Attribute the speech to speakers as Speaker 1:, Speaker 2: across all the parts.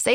Speaker 1: Say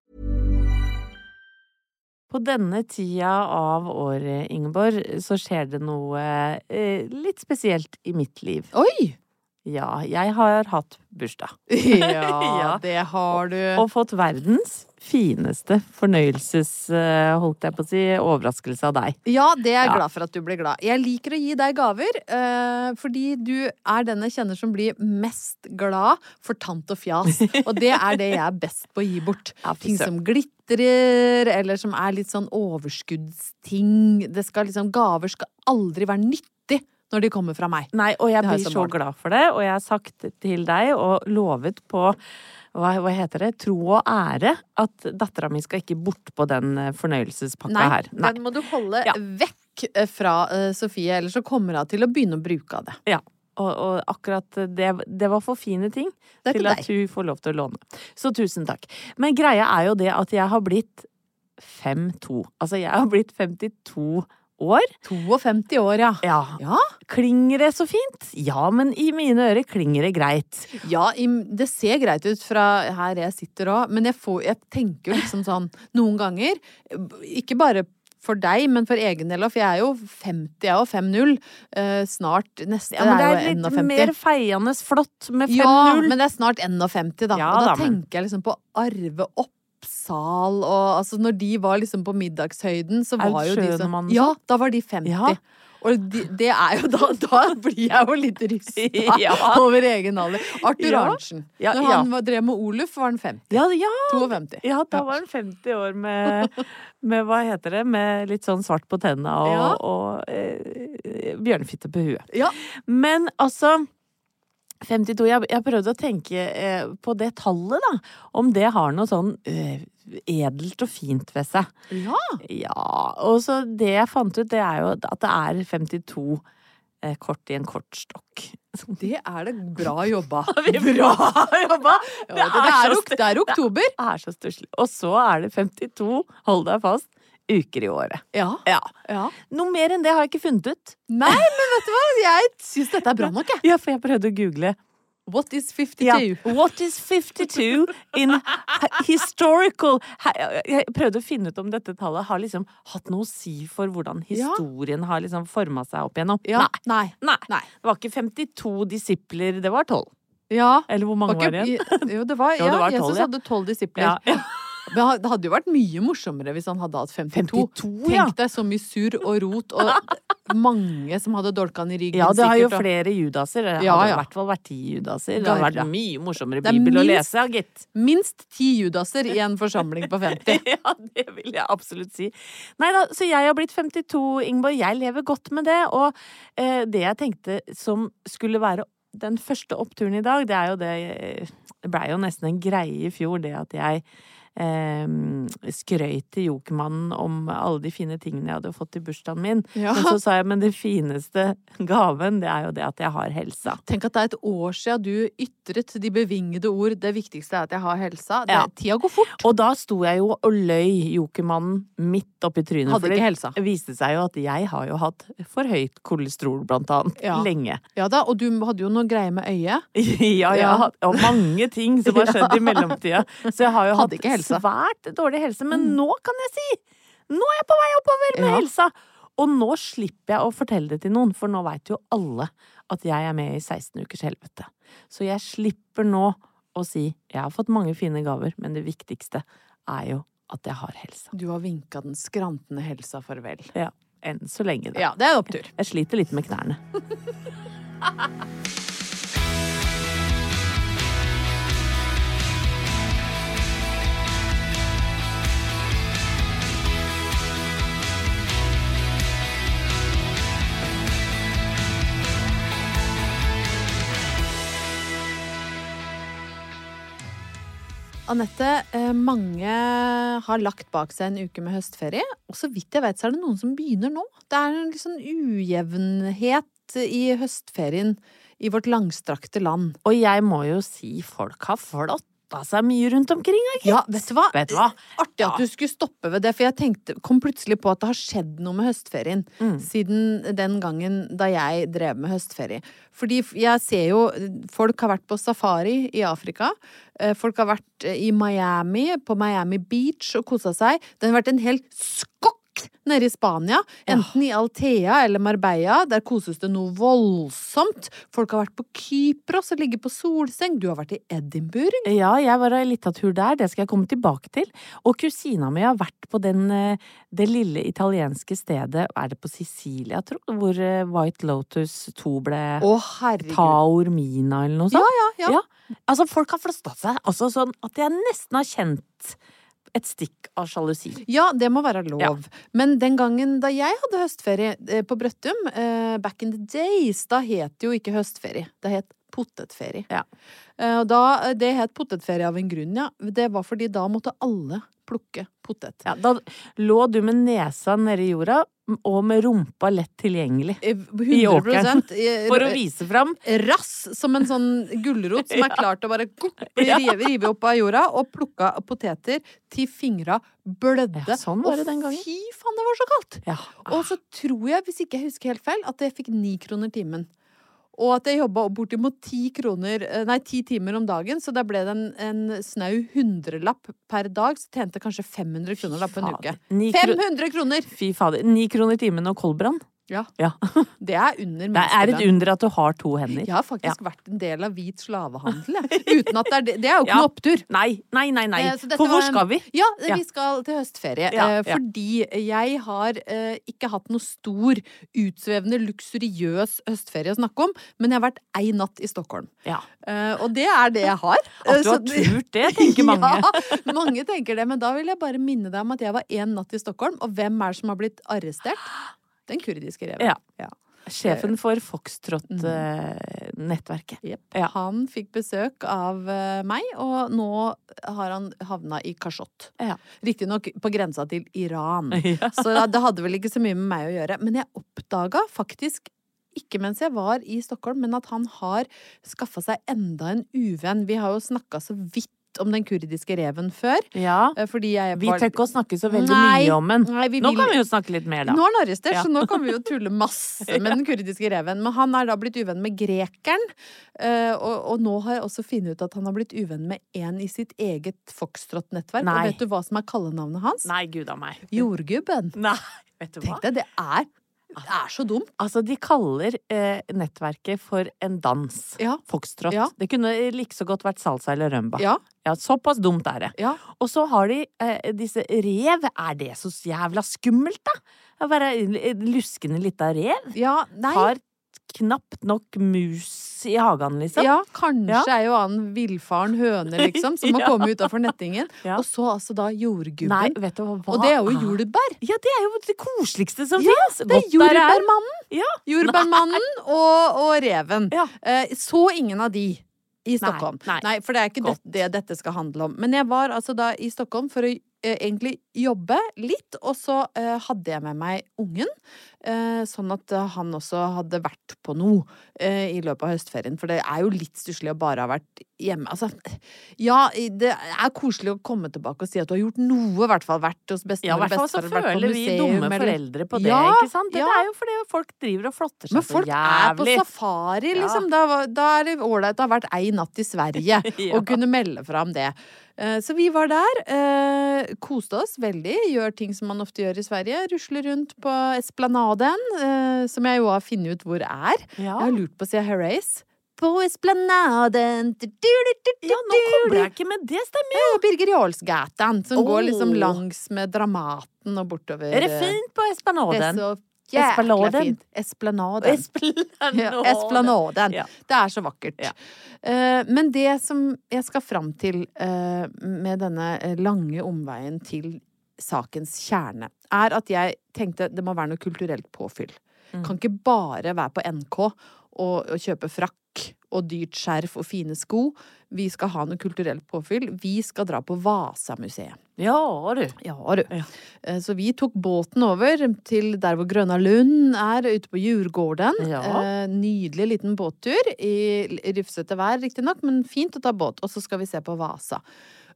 Speaker 2: På denne tida av året, Ingeborg, så skjer det noe eh, litt spesielt i mitt liv.
Speaker 3: Oi!
Speaker 2: Ja, jeg har hatt bursdag.
Speaker 3: Ja, det har du.
Speaker 2: Og fått verdens fineste fornøyelses... eh, holdt jeg på å si, overraskelse av deg.
Speaker 3: Ja, det er jeg
Speaker 2: Ja.
Speaker 3: glad for at du ble glad. Jeg liker å gi deg gaver, eh, fordi du er den jeg kjenner som blir mest glad for tant og fjas. Og det er det jeg er best på å gi bort.
Speaker 2: Ja, fy
Speaker 3: Ting
Speaker 2: søren.
Speaker 3: som glitrer, eller som er litt sånn overskuddsting. Det skal liksom, gaver skal aldri være nyttig når de kommer fra meg.
Speaker 2: Nei, og jeg
Speaker 3: Det har
Speaker 2: blir
Speaker 3: jeg som
Speaker 2: så
Speaker 3: barn.
Speaker 2: glad for det, og jeg har sagt til deg og lovet på hva, hva heter det? Tro og ære. At dattera mi skal ikke bortpå den eh, fornøyelsespakka her. Nei.
Speaker 3: den må du holde
Speaker 2: Ja.
Speaker 3: vekk eh, fra eh, Sofie, ellers så kommer hun til å begynne å bruke av det.
Speaker 2: Og, og akkurat det, det var for fine ting
Speaker 3: Det er
Speaker 2: til
Speaker 3: til
Speaker 2: at
Speaker 3: deg.
Speaker 2: hun får lov til å låne. Så tusen takk. Men greia er jo det at jeg har blitt 5-2. Altså, jeg har blitt 52 år.
Speaker 3: 52 år, ja.
Speaker 2: Ja.
Speaker 3: Ja.
Speaker 2: Klinger det så fint? Ja, men i mine ører klinger det greit.
Speaker 3: Ja, im- det ser greit ut fra her jeg sitter òg, men jeg, får, jeg tenker jo liksom sånn noen ganger b- Ikke bare for deg, men for egen del òg, for jeg er jo 50, jeg og 5-0. eh, snart neste
Speaker 2: Ja, men det
Speaker 3: er jo
Speaker 2: er litt
Speaker 3: 51.
Speaker 2: mer feiende flott med 5-0.
Speaker 3: Ja, men det er snart 51, da.
Speaker 2: Ja,
Speaker 3: og da
Speaker 2: da, men-
Speaker 3: tenker jeg liksom på Arve Oppsal og altså Når de var liksom på middagshøyden, så var
Speaker 2: Aud
Speaker 3: jo de
Speaker 2: Schønemann og
Speaker 3: sånn Ja, da var de 50.
Speaker 2: Ja.
Speaker 3: Og de, det er jo da Da blir jeg jo litt rysta
Speaker 2: Ja.
Speaker 3: over egen alder. Arthur
Speaker 2: Ja.
Speaker 3: Arntzen.
Speaker 2: Ja,
Speaker 3: Når
Speaker 2: ja.
Speaker 3: han var, drev med Oluf, var han 50.
Speaker 2: Ja, ja,
Speaker 3: 52.
Speaker 2: ja, da
Speaker 3: Ja.
Speaker 2: var han 50 år med, med Hva heter det? Med litt sånn svart på tenna og,
Speaker 3: Ja.
Speaker 2: og eh, bjørnefitte på huet.
Speaker 3: Ja.
Speaker 2: Men altså 52, jeg, jeg prøvde å tenke eh, på det tallet, da. Om det har noe sånn eh, edelt og fint ved seg.
Speaker 3: Ja.
Speaker 2: Ja, og så det jeg fant ut, det er jo at det er 52 eh, kort i en kortstokk.
Speaker 3: Det er det bra jobba.
Speaker 2: Bra jobba!
Speaker 3: Ja, det, det, er,
Speaker 2: så
Speaker 3: ok- det er oktober.
Speaker 2: Det er så stusslig. Og så er det 52, hold deg fast, uker i året.
Speaker 3: Ja.
Speaker 2: Ja.
Speaker 3: ja.
Speaker 2: Noe mer enn det har jeg ikke funnet ut.
Speaker 3: Nei, men vet du hva? Jeg syns dette er bra nok, jeg.
Speaker 2: Ja, for jeg prøvde å google.
Speaker 3: What is 52?
Speaker 2: Ja. What is 52 in historical He- Jeg prøvde å finne ut om dette tallet har liksom hatt noe å si for hvordan
Speaker 3: Ja.
Speaker 2: historien har liksom forma seg opp igjennom.
Speaker 3: Ja.
Speaker 2: Nei.
Speaker 3: Nei.
Speaker 2: Nei.
Speaker 3: Nei.
Speaker 2: Det var ikke 52 disipler, det var 12.
Speaker 3: Ja.
Speaker 2: Eller hvor
Speaker 3: Var
Speaker 2: mange var det igjen?
Speaker 3: ikke, jo, det var,
Speaker 2: Jo, det
Speaker 3: ja,
Speaker 2: var tolv,
Speaker 3: Jesus
Speaker 2: ja.
Speaker 3: hadde tolv disipler.
Speaker 2: Ja.
Speaker 3: Men ha- det hadde jo vært mye morsommere hvis han hadde hatt 52.
Speaker 2: 52, ja.
Speaker 3: Tenk deg så mye surr og rot, og mange som hadde dolkan i ryggen.
Speaker 2: Ja, det har jo
Speaker 3: sikkert, og-
Speaker 2: flere judaser. Det
Speaker 3: Ja,
Speaker 2: har
Speaker 3: ja.
Speaker 2: i hvert fall vært ti judaser. Det har vært
Speaker 3: Garra.
Speaker 2: mye morsommere
Speaker 3: Det er
Speaker 2: bibel å
Speaker 3: minst-
Speaker 2: lese, gitt.
Speaker 3: Minst ti judaser i en forsamling på 50.
Speaker 2: Ja, det vil jeg absolutt si. Nei da, så jeg har blitt 52, Ingeborg. Jeg lever godt med det. Og eh, det jeg tenkte som skulle være den første oppturen i dag, det er jo det eh, Det blei jo nesten en greie i fjor, det at jeg eh, skrøyt til Jokermannen om alle de fine tingene jeg hadde fått i bursdagen min.
Speaker 3: Ja.
Speaker 2: Men så sa jeg men den fineste gaven, det er jo det at jeg har helsa.
Speaker 3: Tenk at det er et år siden du ytret de bevingede ord 'det viktigste er at jeg har helsa'. Det,
Speaker 2: Ja.
Speaker 3: Tida går fort.
Speaker 2: Og da sto jeg jo og løy Jokermannen midt oppi trynet.
Speaker 3: Hadde
Speaker 2: for det
Speaker 3: ikke helsa.
Speaker 2: viste seg jo at jeg har jo hatt for høyt kolesterol, blant annet,
Speaker 3: Ja.
Speaker 2: lenge.
Speaker 3: Ja da, og du hadde jo noe greie med
Speaker 2: ja,
Speaker 3: øyet.
Speaker 2: jeg
Speaker 3: Ja.
Speaker 2: har hatt, og mange ting som har skjedd i mellomtida. Så jeg har jo
Speaker 3: Hadde
Speaker 2: hatt
Speaker 3: ikke helsa. Mm.
Speaker 2: svært dårlig helse, men nå kan jeg si! Nå er jeg på vei oppover med
Speaker 3: Ja.
Speaker 2: helsa! Og nå slipper jeg å fortelle det til noen, for nå veit jo alle at jeg er med i 16 ukers helvete. Så jeg slipper nå å si jeg har fått mange fine gaver, men det viktigste er jo at jeg har helsa.
Speaker 3: Du har vinka den skrantende helsa farvel.
Speaker 2: Ja. enn så lenge. Da.
Speaker 3: Ja, det er en opptur.
Speaker 2: Jeg sliter litt med knærne.
Speaker 3: Anette, eh, mange har lagt bak seg en uke med høstferie. Og så vidt jeg vet, så er det noen som begynner nå. Det er en litt sånn ujevnhet i høstferien i vårt langstrakte land.
Speaker 2: Og jeg må jo si folk har flotta seg mye rundt omkring. da, gitt.
Speaker 3: Ja, vet du hva?
Speaker 2: Vet du hva?
Speaker 3: Artig
Speaker 2: Ja.
Speaker 3: at du skulle stoppe ved det, for jeg tenkte, kom plutselig på at det har skjedd noe med høstferien. Siden den gangen da jeg drev med høstferie. Fordi f- jeg ser jo folk har vært på safari i Afrika. eh, Folk har vært eh, i Miami, på Miami Beach og kosa seg. Det har vært en hel skokk! Nede i Spania, enten i Altea eller Marbella, der koses det noe voldsomt. Folk har vært på Kypros og ligget på solseng. Du har vært i Edinburgh.
Speaker 2: Ja, jeg var ei lita tur der, det skal jeg komme tilbake til. Og kusina mi har vært på den, eh, det lille italienske stedet, er det på Sicilia, tror jeg, hvor eh, White Lotus 2 ble
Speaker 3: Å, herregud.
Speaker 2: Taormina eller noe sånt.
Speaker 3: ja, ja.
Speaker 2: Altså, folk har flosta seg altså, sånn at jeg nesten har kjent et stikk av sjalusi.
Speaker 3: Ja, det må være lov.
Speaker 2: Ja.
Speaker 3: Men den gangen da jeg hadde høstferie eh, på Brøttum, eh, back in the days, da het det jo ikke høstferie. Det het potetferie.
Speaker 2: Ja.
Speaker 3: Eh, og da, eh, det het potetferie av en grunn, ja. Det var fordi da måtte alle plukke potet.
Speaker 2: Ja, da lå du med nesa nede i jorda, og med rumpa lett tilgjengelig.
Speaker 3: Eh,
Speaker 2: I åkeren.
Speaker 3: 100% eh,
Speaker 2: For å vise fram
Speaker 3: Rass som en sånn gulrot som er klar til å bare gupp, bli
Speaker 2: Ja.
Speaker 3: rive, rive opp av jorda, og plukka poteter til fingra blødde.
Speaker 2: Ja, sånn var det den gangen.
Speaker 3: Og fy faen, det var så kaldt!
Speaker 2: Ja.
Speaker 3: Og så tror jeg, hvis ikke jeg husker helt feil, at jeg fikk ni kroner timen. Og at jeg jobba bortimot ti kroner, eh, nei, ti timer om dagen, så da ble det en, en snau hundrelapp per dag. Så tjente jeg kanskje 500 kroner da på en uke.
Speaker 2: Fader. Ni kro-
Speaker 3: 500 kroner!
Speaker 2: Fy fader. Ni kroner timen og koldbrann.
Speaker 3: Det er under
Speaker 2: Det er et
Speaker 3: minstelønn.
Speaker 2: under at du har to hender.
Speaker 3: Jeg har faktisk vært en del av hvit slavehandel, jeg. Uten at det er det. Det er jo ikke
Speaker 2: Ja.
Speaker 3: noe opptur.
Speaker 2: Nei, nei, nei. nei.
Speaker 3: Eh, så dette
Speaker 2: For
Speaker 3: var
Speaker 2: hvor
Speaker 3: en-
Speaker 2: skal vi?
Speaker 3: Ja, eh,
Speaker 2: Ja.
Speaker 3: vi skal til høstferie.
Speaker 2: Ja,
Speaker 3: eh,
Speaker 2: ja.
Speaker 3: Fordi jeg har eh, ikke hatt noe stor, utsvevende, luksuriøs høstferie å snakke om, men jeg har vært ei natt i Stockholm.
Speaker 2: Ja.
Speaker 3: Eh, og det er det jeg har.
Speaker 2: At du har turt det, tenker mange.
Speaker 3: ja, mange tenker det. Men da vil jeg bare minne deg om at jeg var én natt i Stockholm, og hvem er det som har blitt arrestert? Den kurdiske reven.
Speaker 2: Ja. Sjefen for eh,
Speaker 3: Mm.
Speaker 2: Foxtrot-nettverket.
Speaker 3: Jep.
Speaker 2: Ja.
Speaker 3: Han fikk besøk av eh, meg, og nå har han havna i Kashot.
Speaker 2: Ja.
Speaker 3: Riktignok på grensa til Iran.
Speaker 2: Ja.
Speaker 3: Så da- det hadde vel ikke så mye med meg å gjøre. Men jeg oppdaga faktisk, ikke mens jeg var i Stockholm, men at han har skaffa seg enda en uvenn. Vi har jo snakka så vidt om den kurdiske reven før.
Speaker 2: ja.
Speaker 3: eh, Fordi jeg
Speaker 2: Vi tør ikke å snakke så veldig
Speaker 3: Nei.
Speaker 2: mye om den.
Speaker 3: Nei, vi
Speaker 2: Nå
Speaker 3: vil-
Speaker 2: kan vi jo snakke litt mer, da.
Speaker 3: Nå er han arrestert,
Speaker 2: Ja.
Speaker 3: så nå kan vi jo tulle masse med den kurdiske reven. Men han er da blitt uvenn med grekeren, eh, og, og nå har jeg også funnet ut at han har blitt uvenn med en i sitt eget Foxtrot-nettverk. Og
Speaker 2: Nei.
Speaker 3: vet du hva som er kallenavnet hans?
Speaker 2: Nei, gud a meg.
Speaker 3: Jordgubben.
Speaker 2: Nei, vet du hva?
Speaker 3: Tenk deg, det er, det er så dumt.
Speaker 2: Altså, de kaller eh, nettverket for en dans.
Speaker 3: Ja.
Speaker 2: Foxtrot.
Speaker 3: Ja.
Speaker 2: Det kunne like så godt vært salsa eller rumba.
Speaker 3: Ja,
Speaker 2: Ja, såpass dumt er det.
Speaker 3: ja.
Speaker 2: Og så har de eh, disse rev. Er det så jævla skummelt, da? Å være en luskende lita rev?
Speaker 3: ja nei.
Speaker 2: Har knapt nok mus i hagen, liksom.
Speaker 3: Ja, kanskje
Speaker 2: Ja.
Speaker 3: er jo han villfaren høne, liksom, som må
Speaker 2: Ja.
Speaker 3: komme utafor nettingen.
Speaker 2: Ja.
Speaker 3: Og så altså da jordgubben.
Speaker 2: Nei, vet du hva?
Speaker 3: og det er jo jordbær.
Speaker 2: Ja, det er jo det koseligste som
Speaker 3: Ja,
Speaker 2: finnes.
Speaker 3: Det er
Speaker 2: Godt der
Speaker 3: jordbærmannen!
Speaker 2: Ja.
Speaker 3: Jordbærmannen og, og reven.
Speaker 2: Ja.
Speaker 3: Eh, så ingen av de i Stockholm.
Speaker 2: nei.
Speaker 3: for det er ikke det,
Speaker 2: Godt.
Speaker 3: det dette skal handle om. Men jeg var altså da i Stockholm for å eh, egentlig jobbe litt, og så eh, hadde jeg med meg ungen. Eh, sånn at eh, han også hadde vært på noe eh, i løpet av høstferien. For det er jo litt stusslig å bare ha vært hjemme. Altså, ja, i- det er koselig å komme tilbake og si at du har gjort noe, i hvert fall. Vært hos
Speaker 2: Ja, i
Speaker 3: bestemor og
Speaker 2: hvert fall så
Speaker 3: bestefar, vært på
Speaker 2: føler vi
Speaker 3: museum,
Speaker 2: dumme
Speaker 3: eller-
Speaker 2: foreldre på det,
Speaker 3: Ja,
Speaker 2: ikke sant? Dette
Speaker 3: ja.
Speaker 2: er jo fordi folk driver og flotter seg
Speaker 3: men folk
Speaker 2: så
Speaker 3: er på
Speaker 2: jævlig.
Speaker 3: safari,
Speaker 2: Ja.
Speaker 3: liksom. Da, var- da er det ålreit å ha vært ei natt i Sverige
Speaker 2: Ja.
Speaker 3: og kunne melde fra om det. Eh, Så vi var der, eh, koste oss veldig, gjør ting som man ofte gjør i Sverige. Rusler rundt på Esplanaden, eh, som jeg jo har funnet ut hvor er.
Speaker 2: Ja.
Speaker 3: Jeg har lurt på siden Herreys. På Esplanaden du, du, du, du,
Speaker 2: ja, nå kommer jeg ikke med det, stemmer jo!
Speaker 3: du. Birger Jarlsgatan, som
Speaker 2: Åh.
Speaker 3: går liksom langs med Dramaten og bortover. eh,
Speaker 2: Er det fint på
Speaker 3: Det er
Speaker 2: Espanaden?
Speaker 3: så Jækla
Speaker 2: Espaladen.
Speaker 3: fint. Esplanaden. Ja,
Speaker 2: Esplanade.
Speaker 3: Esplanaden.
Speaker 2: Ja.
Speaker 3: Det er så vakkert.
Speaker 2: Ja.
Speaker 3: Eh, men det som jeg skal fram til eh, med denne eh, lange omveien til sakens kjerne, er at jeg tenkte det må være noe kulturelt påfyll.
Speaker 2: Mm.
Speaker 3: Kan ikke bare være på NK og, og kjøpe frakk og dyrt skjerf og fine sko. Vi skal ha noe kulturelt påfyll. Vi skal dra på Vasamuseet.
Speaker 2: Ja, du.
Speaker 3: Ja, du.
Speaker 2: Ja.
Speaker 3: Eh, Så vi tok båten over til der hvor Grønna Lund er, ute på Djurgården.
Speaker 2: Ja.
Speaker 3: Eh, Nydelig liten båttur. I l- rufsete vær, riktignok, men fint å ta båt. Og så skal vi se på Vasa.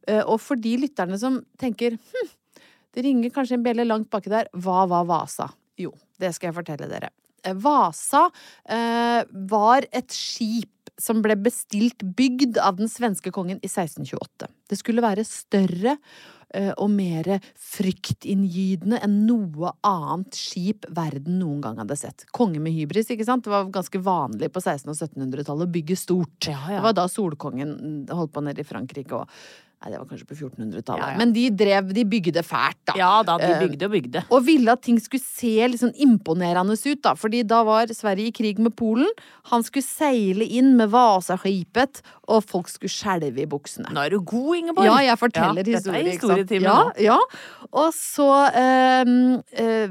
Speaker 3: Eh, Og for de lytterne som tenker hm, det ringer kanskje en bjelle langt baki der, hva var Vasa? Jo, det skal jeg fortelle dere. Eh, Vasa eh, var et skip som ble bestilt bygd av den svenske kongen i 1628. Det skulle være større eh, og mer fryktinngytende enn noe annet skip verden noen gang hadde sett. Konge med hybris, ikke sant? Det var ganske vanlig på 1600- og 1700-tallet å bygge stort.
Speaker 2: Ja, ja.
Speaker 3: Det var da solkongen holdt på nede i Frankrike og Nei, det var kanskje på 1400-tallet.
Speaker 2: Ja, ja.
Speaker 3: Men de drev, de bygde fælt, da.
Speaker 2: Ja da, de
Speaker 3: Eh,
Speaker 2: bygde og bygde.
Speaker 3: og ville at ting skulle se litt sånn imponerende ut, da. Fordi da var Sverige i krig med Polen. Han skulle seile inn med Vasaskipet, og folk skulle skjelve i buksene.
Speaker 2: Nå er du god, Ingeborg.
Speaker 3: Ja, jeg forteller
Speaker 2: Ja, dette er
Speaker 3: historier. ikke sant?
Speaker 2: historietimen
Speaker 3: ja,
Speaker 2: nå.
Speaker 3: ja. Og så ehm, eh,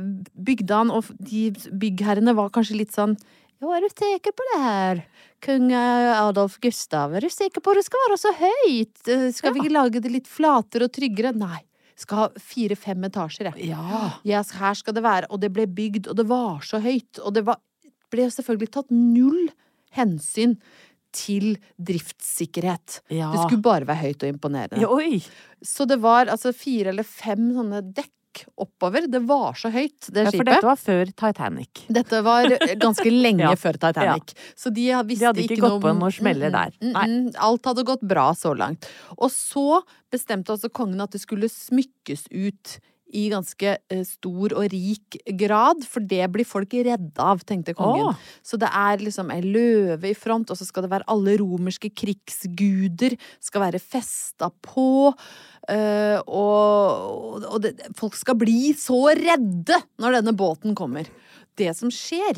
Speaker 3: bygde han, og de byggherrene var kanskje litt sånn Jo, er du sikker på det her? Kong eh, Adolf Gustav, er du sikker på det skal være så høyt? Eh, Skal vi ikke lage det litt flatere og tryggere? Nei. Skal ha fire-fem etasjer, jeg.
Speaker 2: Ja.
Speaker 3: Ja, sk- her skal det være, og det ble bygd, og det var så høyt, og det var, ble selvfølgelig tatt null hensyn til driftssikkerhet.
Speaker 2: Ja.
Speaker 3: Det skulle bare være høyt og imponerende.
Speaker 2: Ja, Oi!
Speaker 3: Så det var altså fire eller fem sånne dekk oppover. Det var så høyt, det
Speaker 2: Ja, for
Speaker 3: skipet.
Speaker 2: dette var før Titanic.
Speaker 3: Dette var ganske lenge
Speaker 2: Ja.
Speaker 3: før Titanic. Så de ha- visste
Speaker 2: hadde ikke
Speaker 3: ikke
Speaker 2: gått
Speaker 3: noe
Speaker 2: på noen smeller der.
Speaker 3: Mm, mm, mm, mm. Alt hadde gått bra så langt. Og så bestemte altså kongen at det skulle smykkes ut i ganske eh, stor og rik grad, for det blir folk redde av, tenkte kongen.
Speaker 2: Åh.
Speaker 3: Så det er liksom ei løve i front, og så skal det være alle romerske krigsguder skal være festa på. eh, og og det, folk skal bli så redde når denne båten kommer. Det som skjer,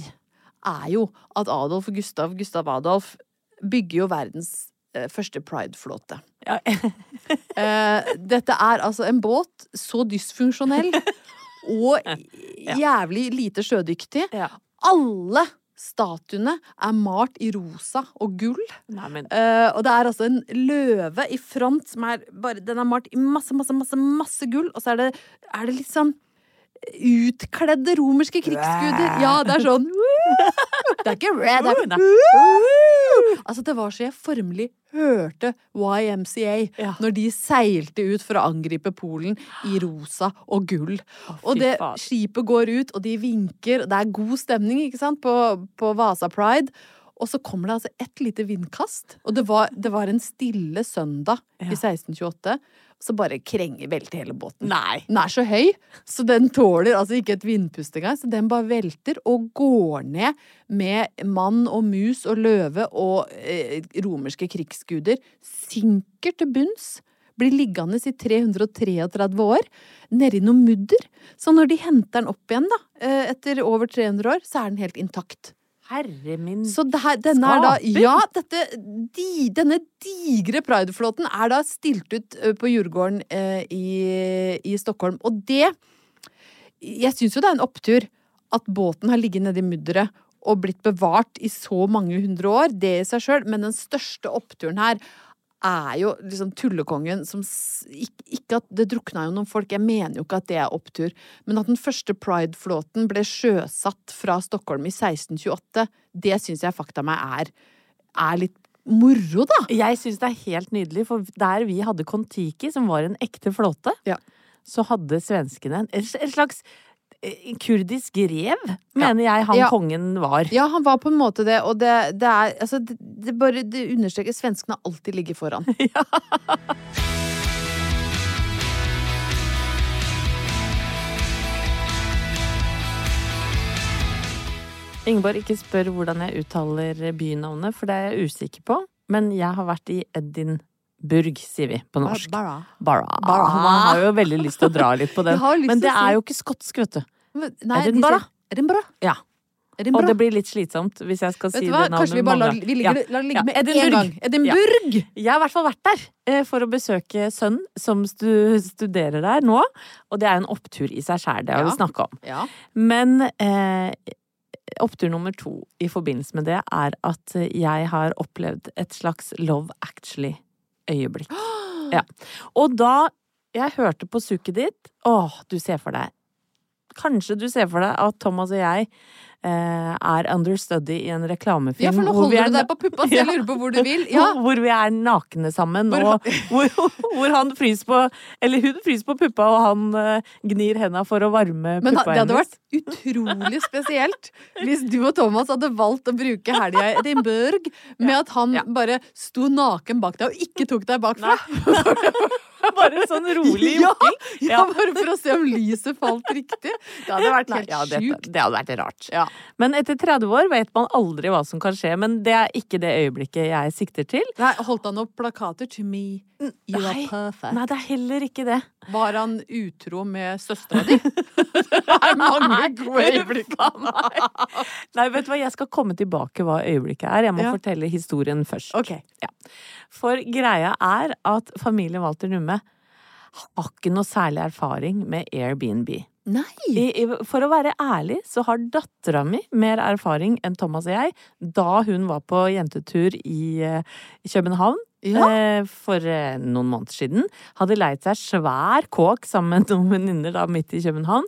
Speaker 3: er jo at Adolf og Gustav, Gustav Adolf, bygger jo verdens eh, første prideflåte.
Speaker 2: Ja.
Speaker 3: Eh, dette er altså en båt så dysfunksjonell og jævlig lite sjødyktig.
Speaker 2: Ja.
Speaker 3: Alle statuene er malt i rosa og gull.
Speaker 2: Nei, men
Speaker 3: Eh, og det er altså en løve i front som er bare Den er malt i masse, masse, masse masse gull, og så er det, er det litt sånn Utkledde romerske krigsguder. Ja, det er sånn Det er ikke red, det er
Speaker 2: Nei.
Speaker 3: Altså, det var så jeg formelig hørte YMCA
Speaker 2: Ja.
Speaker 3: når de seilte ut for å angripe Polen i rosa og gull. og det
Speaker 2: faen.
Speaker 3: skipet går ut, og de vinker, og det er god stemning, ikke sant, på, på Vasa Pride. Og så kommer det altså ett lite vindkast, og det var, det var en stille søndag
Speaker 2: Ja.
Speaker 3: i 1628, så bare krenger velter hele båten.
Speaker 2: Nei.
Speaker 3: Den er så høy, så den tåler altså ikke et vindpust engang. Så den bare velter og går ned med mann og mus og løve og eh, romerske krigsguder. Synker til bunns. Blir liggende i 333 år, nedi noe mudder. Så når de henter den opp igjen, da, eh, etter over 300 år, så er den helt intakt.
Speaker 2: Herre min
Speaker 3: Så det her, denne er da
Speaker 2: Skaper.
Speaker 3: Ja, dette, di, denne digre prideflåten er da stilt ut ø, på Djurgården eh, i, i Stockholm. Og det Jeg syns jo det er en opptur at båten har ligget nedi mudderet og blitt bevart i så mange hundre år. Det i seg sjøl. Men den største oppturen her er jo liksom tullekongen som s- ikke, ikke at Det drukna jo noen folk, jeg mener jo ikke at det er opptur, men at den første prideflåten ble sjøsatt fra Stockholm i 1628, det syns jeg fakta meg er, er litt moro, da.
Speaker 2: Jeg syns det er helt nydelig, for der vi hadde Kon-Tiki, som var en ekte flåte,
Speaker 3: Ja.
Speaker 2: så hadde svenskene en, en slags eh, kurdisk rev, mener jeg han
Speaker 3: Ja.
Speaker 2: kongen var.
Speaker 3: Ja, han var på en måte det, og det, det er altså, det, det bare det understreker svenskene har alltid ligget foran.
Speaker 2: Ingeborg, ikke spør hvordan jeg uttaler bynavnet, for det er jeg usikker på. Men jeg har vært i Edinburgh, sier vi på norsk.
Speaker 3: Barbara.
Speaker 2: Barra.
Speaker 3: Barra.
Speaker 2: Man har jo veldig lyst til å dra litt på den.
Speaker 3: Jeg har lyst
Speaker 2: Men
Speaker 3: til
Speaker 2: det
Speaker 3: å si-
Speaker 2: er jo ikke skotsk, vet du.
Speaker 3: Men- Nei, de
Speaker 2: Edinburgh.
Speaker 3: sier- Edinburgh.
Speaker 2: Ja. Og
Speaker 3: Edinburgh.
Speaker 2: det blir litt slitsomt hvis jeg skal
Speaker 3: Vet
Speaker 2: si
Speaker 3: du
Speaker 2: det
Speaker 3: hva?
Speaker 2: navnet.
Speaker 3: Kanskje vi bare lar,
Speaker 2: mange
Speaker 3: vi
Speaker 2: ganger.
Speaker 3: ligger, lar det ligge
Speaker 2: Ja,
Speaker 3: med én
Speaker 2: Edinburgh.
Speaker 3: gang. Edinburgh!
Speaker 2: Jeg har i hvert fall vært der eh, for å besøke sønnen som stu studerer der nå. Og det er en opptur i seg sjæl, det har
Speaker 3: Ja.
Speaker 2: vi snakka om.
Speaker 3: Ja.
Speaker 2: Men eh, opptur nummer to i forbindelse med det er at eh, jeg har opplevd et slags Love Actually-øyeblikk. Ja. Og da jeg hørte på sukket ditt Åh, du ser for deg Kanskje du ser for deg at Thomas og jeg eh, er understudy i en reklamefilm.
Speaker 3: ja, for nå
Speaker 2: hvor vi
Speaker 3: holder
Speaker 2: er
Speaker 3: du deg på puppa, så jeg lurer på hvor du vil. Ja.
Speaker 2: hvor vi er nakne sammen,
Speaker 3: Hvor
Speaker 2: og hvor, hvor han fryser på Eller hun fryser på puppa, og han eh, gnir henda for å varme
Speaker 3: Men ha-
Speaker 2: puppa
Speaker 3: det hadde
Speaker 2: hennes.
Speaker 3: vært utrolig spesielt hvis du og Thomas hadde valgt å bruke helga i Edinburgh med at han
Speaker 2: Ja.
Speaker 3: bare sto naken bak deg og ikke tok deg bakfra.
Speaker 2: Bare sånn rolig
Speaker 3: Ja,
Speaker 2: jokking.
Speaker 3: Ja, bare for å se om lyset falt riktig. Det hadde vært helt
Speaker 2: ja, det,
Speaker 3: sjukt.
Speaker 2: det hadde vært rart.
Speaker 3: Ja.
Speaker 2: Men etter 30 år vet man aldri hva som kan skje. Men det er ikke det øyeblikket jeg sikter til.
Speaker 3: Nei, holdt han opp plakater to me? You are
Speaker 2: Nei.
Speaker 3: perfect.
Speaker 2: Nei, det er heller ikke det.
Speaker 3: Var han utro med søstera di? Det er mange gode øyeblikk.
Speaker 2: Nei, vet du hva, jeg skal komme tilbake hva øyeblikket er. Jeg må
Speaker 3: Ja.
Speaker 2: fortelle historien først.
Speaker 3: Ok.
Speaker 2: Ja. For greia er at familien Walter Numme har ikke noe særlig erfaring med Airbnb.
Speaker 3: Nei!
Speaker 2: I, i, for å være ærlig så har dattera mi mer erfaring enn Thomas og jeg da hun var på jentetur i, eh, i København
Speaker 3: Ja.
Speaker 2: eh, for eh, noen måneder siden. Hadde leid seg svær kåk sammen med noen venninner da midt i København.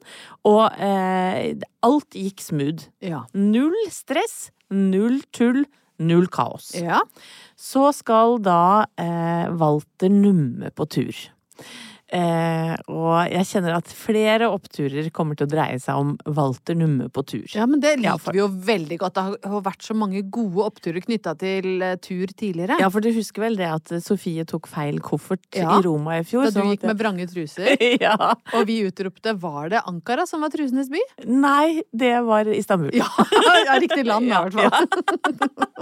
Speaker 2: Og eh, alt gikk smooth.
Speaker 3: Ja.
Speaker 2: Null stress, null tull, null kaos
Speaker 3: ja.
Speaker 2: så skal da eh, Walter numme på tur. Eh, og jeg kjenner at flere oppturer kommer til å dreie seg om Walter numme på tur.
Speaker 3: Ja, men det liker
Speaker 2: Ja, for-
Speaker 3: vi jo veldig godt. Det har- har vært så mange gode oppturer knytta til eh, tur tidligere.
Speaker 2: Ja, for du husker vel det at Sofie tok feil koffert
Speaker 3: Ja,
Speaker 2: i Roma i fjor?
Speaker 3: Da du
Speaker 2: sånn
Speaker 3: gikk
Speaker 2: at
Speaker 3: med vrange truser,
Speaker 2: jeg- Ja.
Speaker 3: og vi utropte 'Var det Ankara som var trusenes by?'
Speaker 2: Nei, det var Istanbul.
Speaker 3: Ja, ja riktig land, da, i hvert fall.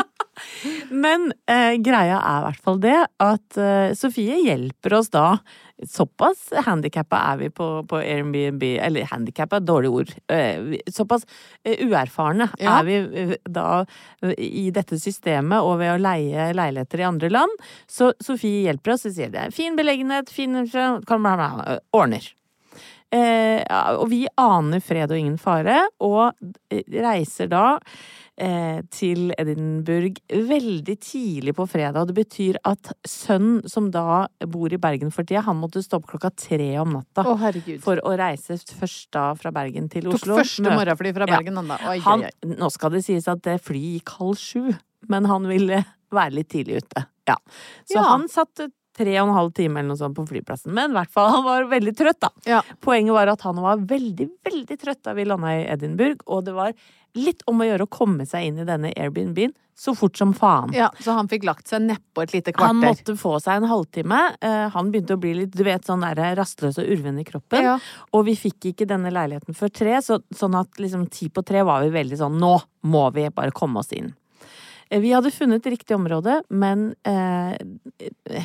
Speaker 2: Men eh, greia er i hvert fall det at eh, Sofie hjelper oss da. Såpass handikappa er vi på, på Airbnb Eller handikappa, dårlig ord. Eh, vi- såpass eh, uerfarne
Speaker 3: Ja.
Speaker 2: er vi eh, da eh, i dette systemet og ved å leie leiligheter i andre land. Så Sofie hjelper oss og sier det er fin beleggenhet, fin kan bla, bla, bla, Ordner. Eh, ja, og vi aner fred og ingen fare, og eh, reiser da eh, til Edinburgh veldig tidlig på fredag. og Det betyr at sønnen som da bor i Bergen for tida, han måtte stå opp klokka tre om natta
Speaker 3: Å, herregud.
Speaker 2: for å reise først da fra Bergen til
Speaker 3: Tok
Speaker 2: Oslo.
Speaker 3: første
Speaker 2: Møte-
Speaker 3: morgenfly fra
Speaker 2: Ja.
Speaker 3: Bergen, han da. Oi,
Speaker 2: han,
Speaker 3: oi, oi.
Speaker 2: nå skal det sies at det flyet gikk halv sju, men han ville være litt tidlig ute. Ja. Så
Speaker 3: Ja.
Speaker 2: han satt tre og en halv time eller noe sånt på flyplassen. Men i hvert fall, han var veldig trøtt, da.
Speaker 3: Ja.
Speaker 2: Poenget var at han var veldig, veldig trøtt da vi landa i Edinburgh, og det var litt om å gjøre å komme seg inn i denne Airbnb-en så fort som faen.
Speaker 3: Ja, så han fikk lagt seg nedpå et lite
Speaker 2: Han
Speaker 3: kvarter.
Speaker 2: måtte få seg en halvtime. Eh, Han begynte å bli litt du vet, sånn der rastløs og urven i kroppen.
Speaker 3: Ja.
Speaker 2: Og vi fikk ikke denne leiligheten før tre, så, sånn at liksom ti på tre var vi veldig sånn Nå må vi bare komme oss inn. Eh, Vi hadde funnet riktig område, men eh,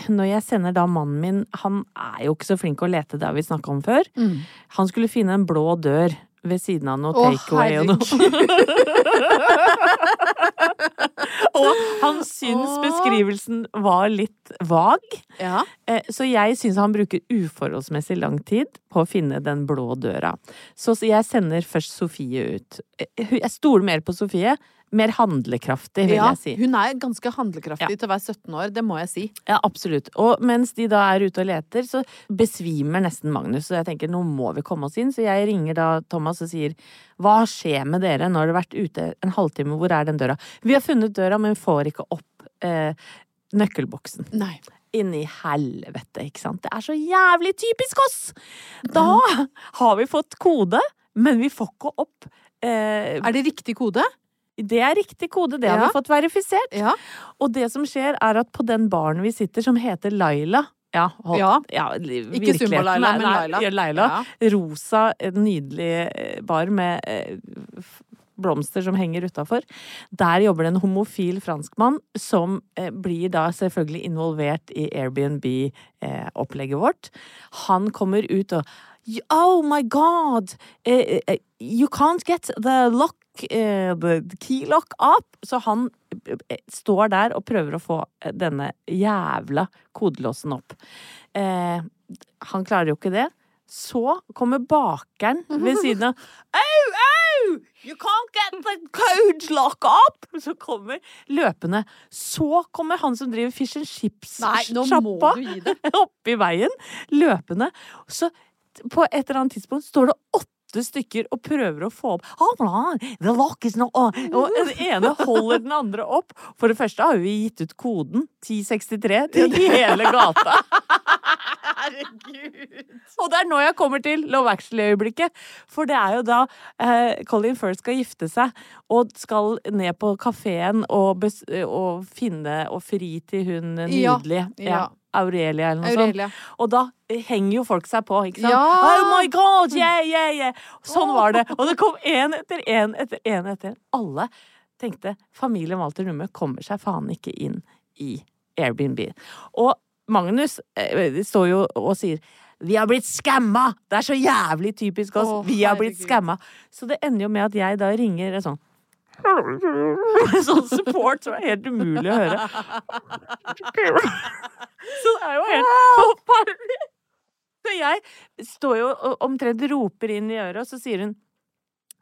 Speaker 2: når jeg sender da mannen min Han er jo ikke så flink å lete, det har vi snakka om før.
Speaker 3: Mm.
Speaker 2: Han skulle finne en blå dør ved siden av noe
Speaker 3: Å,
Speaker 2: takeaway og noe. Og han syns
Speaker 3: Åh.
Speaker 2: beskrivelsen var litt vag.
Speaker 3: Ja.
Speaker 2: Eh, Så jeg syns han bruker uforholdsmessig lang tid på å finne den blå døra. Så s- jeg sender først Sofie ut. Eh, hun- Jeg stoler mer på Sofie. Mer handlekraftig, vil
Speaker 3: ja.
Speaker 2: jeg si.
Speaker 3: Hun er ganske handlekraftig
Speaker 2: Ja.
Speaker 3: til å være 17 år, det må jeg si.
Speaker 2: Ja, absolutt. Og mens de da er ute og leter, så besvimer nesten Magnus. Så jeg tenker nå må vi komme oss inn. Så jeg ringer da Thomas og sier hva skjer med dere? Nå har dere vært ute en halvtime, hvor er den døra? Vi har funnet døra, men får ikke opp eh, nøkkelboksen.
Speaker 3: Nei.
Speaker 2: inni helvete, ikke sant? Det er så jævlig typisk oss! Da har vi fått kode, men vi får ikke opp eh,
Speaker 3: Er det riktig kode?
Speaker 2: Det er riktig kode, det har
Speaker 3: Ja.
Speaker 2: vi fått verifisert.
Speaker 3: Ja.
Speaker 2: Og det som skjer, er at på den baren vi sitter, som heter Laila ja, hold,
Speaker 3: Ja.
Speaker 2: virkeligheten
Speaker 3: Ikke Zumba-Laila,
Speaker 2: er-
Speaker 3: men
Speaker 2: nei,
Speaker 3: Laila.
Speaker 2: ja, Laila.
Speaker 3: Ja.
Speaker 2: Rosa, eh, nydelig eh, bar med eh, f- blomster som henger utafor. Der jobber det en homofil franskmann som eh, blir da eh, selvfølgelig involvert i Airbnb-opplegget vårt. Han kommer ut og you- Oh my god! eh, eh, you can't get the lock eh, The key lock up! Så han eh, eh, står der og prøver å få eh, denne jævla kodelåsen opp. Eh, han klarer jo ikke det. Så kommer bakeren ved siden av. Au, au! You can't get the code lock up! Så kommer løpende. Så kommer han som driver fish and
Speaker 3: Nei, nå må
Speaker 2: chips-sjappa
Speaker 3: du gi deg.
Speaker 2: oppi veien, løpende. Så t- på et eller annet tidspunkt står det åtte stykker og prøver å få opp «Ah, bla, The lock is not on. Og den ene holder den andre opp. For det første har vi gitt ut koden 1063 til hele gata.
Speaker 3: Herregud.
Speaker 2: Og det er nå jeg kommer til Love Actually-øyeblikket. For det er jo da eh, Colin Firth skal gifte seg og skal ned på kafeen og, bes- og finne og fri til hun
Speaker 3: Ja,
Speaker 2: nydelige
Speaker 3: ja.
Speaker 2: Aurelia eller noe sånt.
Speaker 3: Aurelia.
Speaker 2: Og da henger jo folk seg på, ikke sant?
Speaker 3: Ja!
Speaker 2: Oh my god, yeah, yeah, yeah! Sånn var det. Og det kom én etter én etter én etter en. Alle tenkte familien Walter Numme kommer seg faen ikke inn i Airbnb. Og Magnus eh, står jo og sier vi har blitt skamma! Det er så jævlig typisk oss.
Speaker 3: Å,
Speaker 2: vi har blitt
Speaker 3: herregud.
Speaker 2: skamma. Så det ender jo med at jeg da ringer en sånn Sånn support som er helt umulig å høre. Så det er jo helt forferdelig. Så jeg står jo og omtrent roper inn i øret, og så sier hun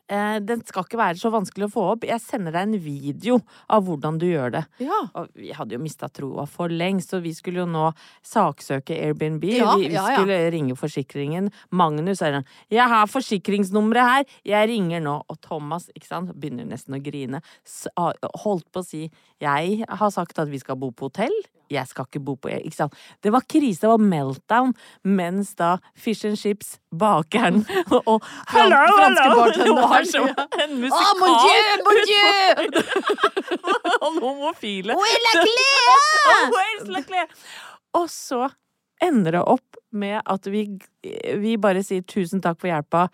Speaker 2: eh, den skal ikke være så vanskelig å få opp. Jeg sender deg en video av hvordan du gjør det.
Speaker 3: Ja.
Speaker 2: Og vi hadde jo mista troa for lengst, og vi skulle jo nå saksøke Airbnb.
Speaker 3: Ja,
Speaker 2: vi, vi
Speaker 3: ja, ja.
Speaker 2: skulle ringe forsikringen. Magnus er sånn 'Jeg har forsikringsnummeret her, jeg ringer nå.' Og Thomas ikke sant, begynner nesten å grine. S- har- Holdt på å si 'Jeg har sagt at vi skal bo på hotell'. Jeg skal ikke bo på ikke sant? Det var krise, det var meltdown. Mens da Fish and Chips, bakeren og, og
Speaker 3: Fran-
Speaker 2: Hello,
Speaker 3: franske
Speaker 2: hello! Det var
Speaker 3: bartenderen,
Speaker 2: som
Speaker 3: ja.
Speaker 2: en
Speaker 3: Ah,
Speaker 2: musikal.
Speaker 3: mon dieu, mon dieu!
Speaker 2: Han homofile.
Speaker 3: Oui, la clé!
Speaker 2: Always luckily. Og så ender det opp med at vi, vi bare sier tusen takk for hjelpa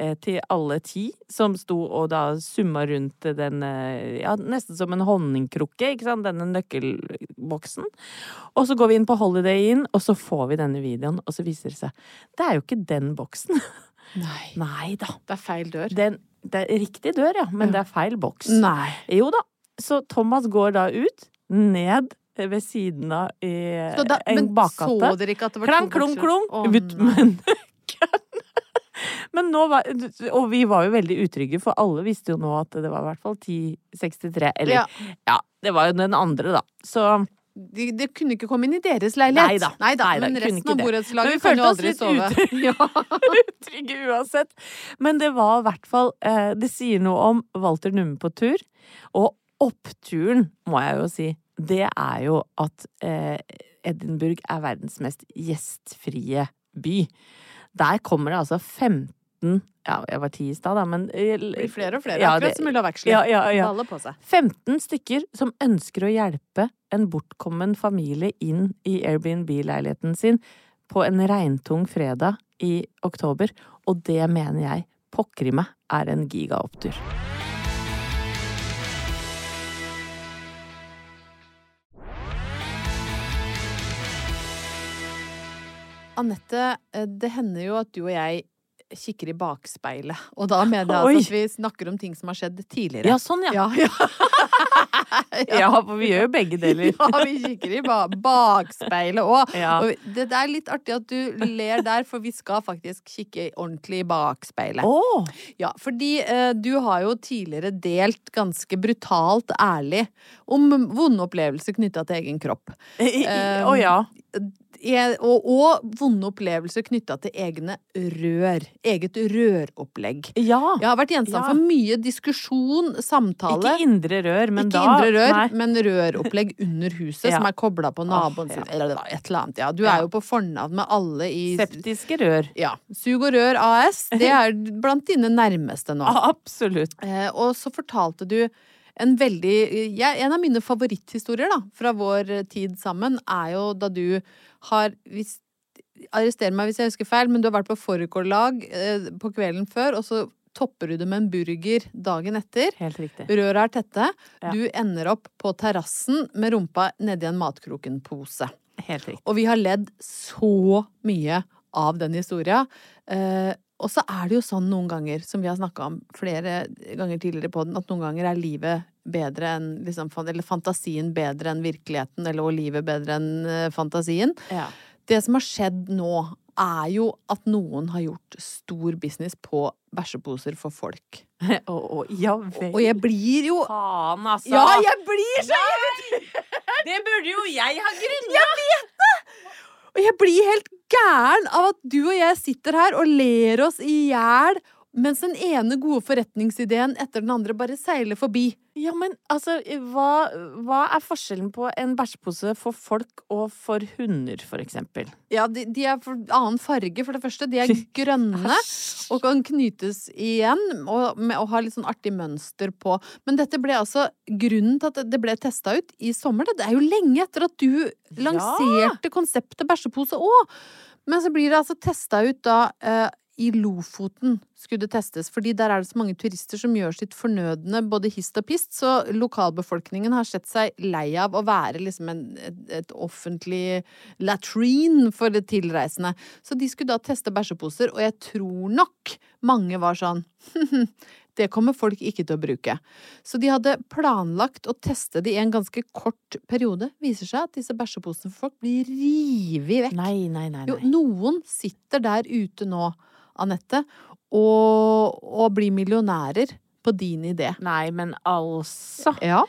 Speaker 2: eh, til alle ti som sto og da summa rundt den eh, ja, nesten som en honningkrukke, ikke sant, denne nøkkelboksen. Og så går vi inn på Holiday Inn, og så får vi denne videoen, og så viser det seg det er jo ikke den boksen.
Speaker 3: Nei.
Speaker 2: Nei da.
Speaker 3: Det er feil dør.
Speaker 2: Den, det er riktig dør, ja, men det er feil boks.
Speaker 3: Nei.
Speaker 2: Jo da. Så Thomas går da ut, ned ved siden av i
Speaker 3: Så da,
Speaker 2: en
Speaker 3: men
Speaker 2: bakgate.
Speaker 3: så dere ikke at det var
Speaker 2: Klang,
Speaker 3: to
Speaker 2: klung,
Speaker 3: bokser?
Speaker 2: klung!
Speaker 3: Å,
Speaker 2: ut
Speaker 3: nei.
Speaker 2: med nøkkelen. Men nå var Og vi var jo veldig utrygge, for alle visste jo nå at det var i hvert fall 1063. Eller ja.
Speaker 3: Ja.
Speaker 2: det var jo den andre, da. Så
Speaker 3: de, de kunne ikke komme inn i deres leilighet.
Speaker 2: Neida.
Speaker 3: Neida,
Speaker 2: Neida,
Speaker 3: men
Speaker 2: kunne ikke
Speaker 3: resten av
Speaker 2: det. Men vi
Speaker 3: borettslaget kan jo
Speaker 2: følte oss
Speaker 3: aldri
Speaker 2: litt
Speaker 3: sove. Ja.
Speaker 2: utrygge uansett. Men det var i hvert fall eh, Det sier noe om Walter Numme på tur. Og oppturen, må jeg jo si, det er jo at eh, Edinburgh er verdens mest gjestfrie by. Der kommer det altså 15 Ja, jeg var 10 i stad, da, men eh,
Speaker 3: Det blir flere og flere,
Speaker 2: Ja, det-
Speaker 3: akkurat som Ulla Veksler.
Speaker 2: Ja, ja, ja.
Speaker 3: Baller på seg.
Speaker 2: 15 stykker som ønsker å hjelpe en bortkommen familie inn i Airbnb-leiligheten sin på en regntung fredag i oktober, og det mener jeg pokker i meg er en gigaopptur.
Speaker 3: Anette, eh, det hender jo at du og jeg kikker i bakspeilet, og da mener jeg
Speaker 2: Oi.
Speaker 3: altså at vi snakker om ting som har skjedd tidligere.
Speaker 2: Ja, sånn ja.
Speaker 3: ja, ja.
Speaker 2: Ja, for vi gjør jo begge deler.
Speaker 3: Ja, vi kikker i ba bakspeilet òg.
Speaker 2: Ja.
Speaker 3: Og det, det er litt artig at du ler der, for vi skal faktisk kikke ordentlig i bakspeilet.
Speaker 2: Å!
Speaker 3: Ja, fordi eh, du har jo tidligere delt ganske brutalt ærlig om vonde opplevelser knytta til egen kropp.
Speaker 2: I- i-
Speaker 3: Ehm,
Speaker 2: i- Å ja.
Speaker 3: E- Og, og vonde opplevelser knytta til egne rør. Eget røropplegg.
Speaker 2: Ja.
Speaker 3: Jeg har vært gjenstand
Speaker 2: Ja.
Speaker 3: for mye diskusjon, samtale.
Speaker 2: Ikke indre rør, men
Speaker 3: Ikke
Speaker 2: da
Speaker 3: indre rør,
Speaker 2: Nei.
Speaker 3: men røropplegg under huset
Speaker 2: Ja.
Speaker 3: som er kobla på naboen sin,
Speaker 2: ja.
Speaker 3: eller et eller annet. Ja, du
Speaker 2: Ja.
Speaker 3: er jo på fornavn med alle i
Speaker 2: Septiske rør.
Speaker 3: ja. Sug og Rør AS. Det er blant dine nærmeste nå.
Speaker 2: Absolutt.
Speaker 3: Eh, og så fortalte du en veldig ja, En av mine favoritthistorier da, fra vår eh, tid sammen, er jo da du har hvis, Arrester meg hvis jeg husker feil, men du har vært på fårikållag eh, på kvelden før, og så topper du det med en burger dagen etter.
Speaker 2: Helt riktig.
Speaker 3: Røra er tette.
Speaker 2: Ja.
Speaker 3: Du ender opp på terrassen med rumpa nedi en matkroken-pose.
Speaker 2: Helt riktig.
Speaker 3: Og vi har ledd så mye av den historia. Eh, og så er det jo sånn noen ganger, som vi har snakka om flere ganger tidligere på den, at noen ganger er livet bedre enn liksom, fan- Eller fantasien bedre enn virkeligheten, eller og livet bedre enn eh, fantasien.
Speaker 2: Ja.
Speaker 3: Det som har skjedd nå, er jo at noen har gjort stor business på bæsjeposer for folk.
Speaker 2: Å, å, ja vel.
Speaker 3: Og jeg blir jo
Speaker 2: Faen, altså.
Speaker 3: Ja, jeg blir så
Speaker 2: Det burde jo jeg ha grunna!
Speaker 3: Og jeg blir helt gæren av at du og jeg sitter her og ler oss i hjel mens den ene gode forretningsideen etter den andre bare seiler forbi.
Speaker 2: Ja, men altså, hva, hva er forskjellen på en bæsjpose for folk og for hunder, for eksempel?
Speaker 3: Ja, de, de er for annen farge, for det første. De er grønne og kan knytes igjen og, med, og har litt sånn artig mønster på. Men dette ble altså grunnen til at det ble testa ut i sommer. da. Det er jo lenge etter at du lanserte konseptet bæsjepose òg. Men så blir det altså testa ut da eh, i Lofoten skulle det testes, fordi der er det så mange turister som gjør sitt fornødne både hist og pist, så lokalbefolkningen har sett seg lei av å være liksom en, et, et offentlig latrine for det tilreisende. Så de skulle da teste bæsjeposer, og jeg tror nok mange var sånn Det kommer folk ikke til å bruke. Så de hadde planlagt å teste det i en ganske kort periode. Viser seg at disse bæsjeposene for folk blir revet vekk.
Speaker 2: Nei, nei, nei.
Speaker 3: Jo,
Speaker 2: nei.
Speaker 3: noen sitter der ute nå, Anette, og, og blir millionærer på din idé.
Speaker 2: Nei, men altså.
Speaker 3: Ja.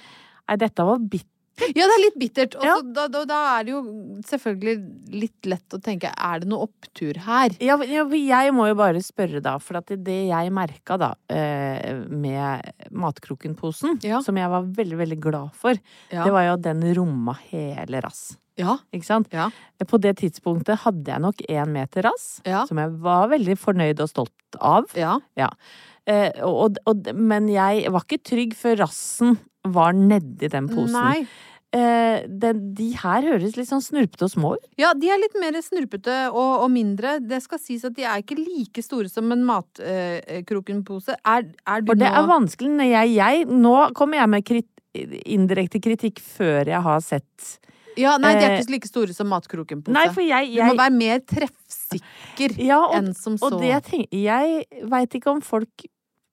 Speaker 2: Nei, dette var bitt.
Speaker 3: ja, det er litt bittert. Og
Speaker 2: Ja.
Speaker 3: så da, da, da er det jo selvfølgelig litt lett å tenke er det noe opptur her?
Speaker 2: Ja, men- ja, for jeg må jo bare spørre, da. For at det- det jeg merka, da, eh, med Matkroken-posen,
Speaker 3: Ja.
Speaker 2: som jeg var veldig, veldig glad for,
Speaker 3: Ja.
Speaker 2: det var jo at den romma hele rass.
Speaker 3: ja.
Speaker 2: Ikke sant?
Speaker 3: Ja.
Speaker 2: På det tidspunktet hadde jeg nok én meter rass,
Speaker 3: Ja.
Speaker 2: som jeg var veldig fornøyd og stolt av.
Speaker 3: Ja.
Speaker 2: Eh, og, og, men jeg var ikke trygg før rassen var nedi den posen.
Speaker 3: Nei.
Speaker 2: Eh, den, de her høres litt sånn snurpete og små ut.
Speaker 3: Ja, de er litt mer snurpete og, og mindre. Det skal sies at de er ikke like store som en matkrokenpose. er, er du
Speaker 2: For det
Speaker 3: nå
Speaker 2: er vanskelig når jeg, jeg Nå kommer jeg med krit, indirekte kritikk før jeg har sett
Speaker 3: Ja, nei, de er
Speaker 2: eh,
Speaker 3: ikke like store som matkrokenpose.
Speaker 2: Nei, for jeg,
Speaker 3: Du må
Speaker 2: jeg
Speaker 3: være mer treffsikker
Speaker 2: ja, og,
Speaker 3: enn som så.
Speaker 2: og det jeg tenker Jeg veit ikke om folk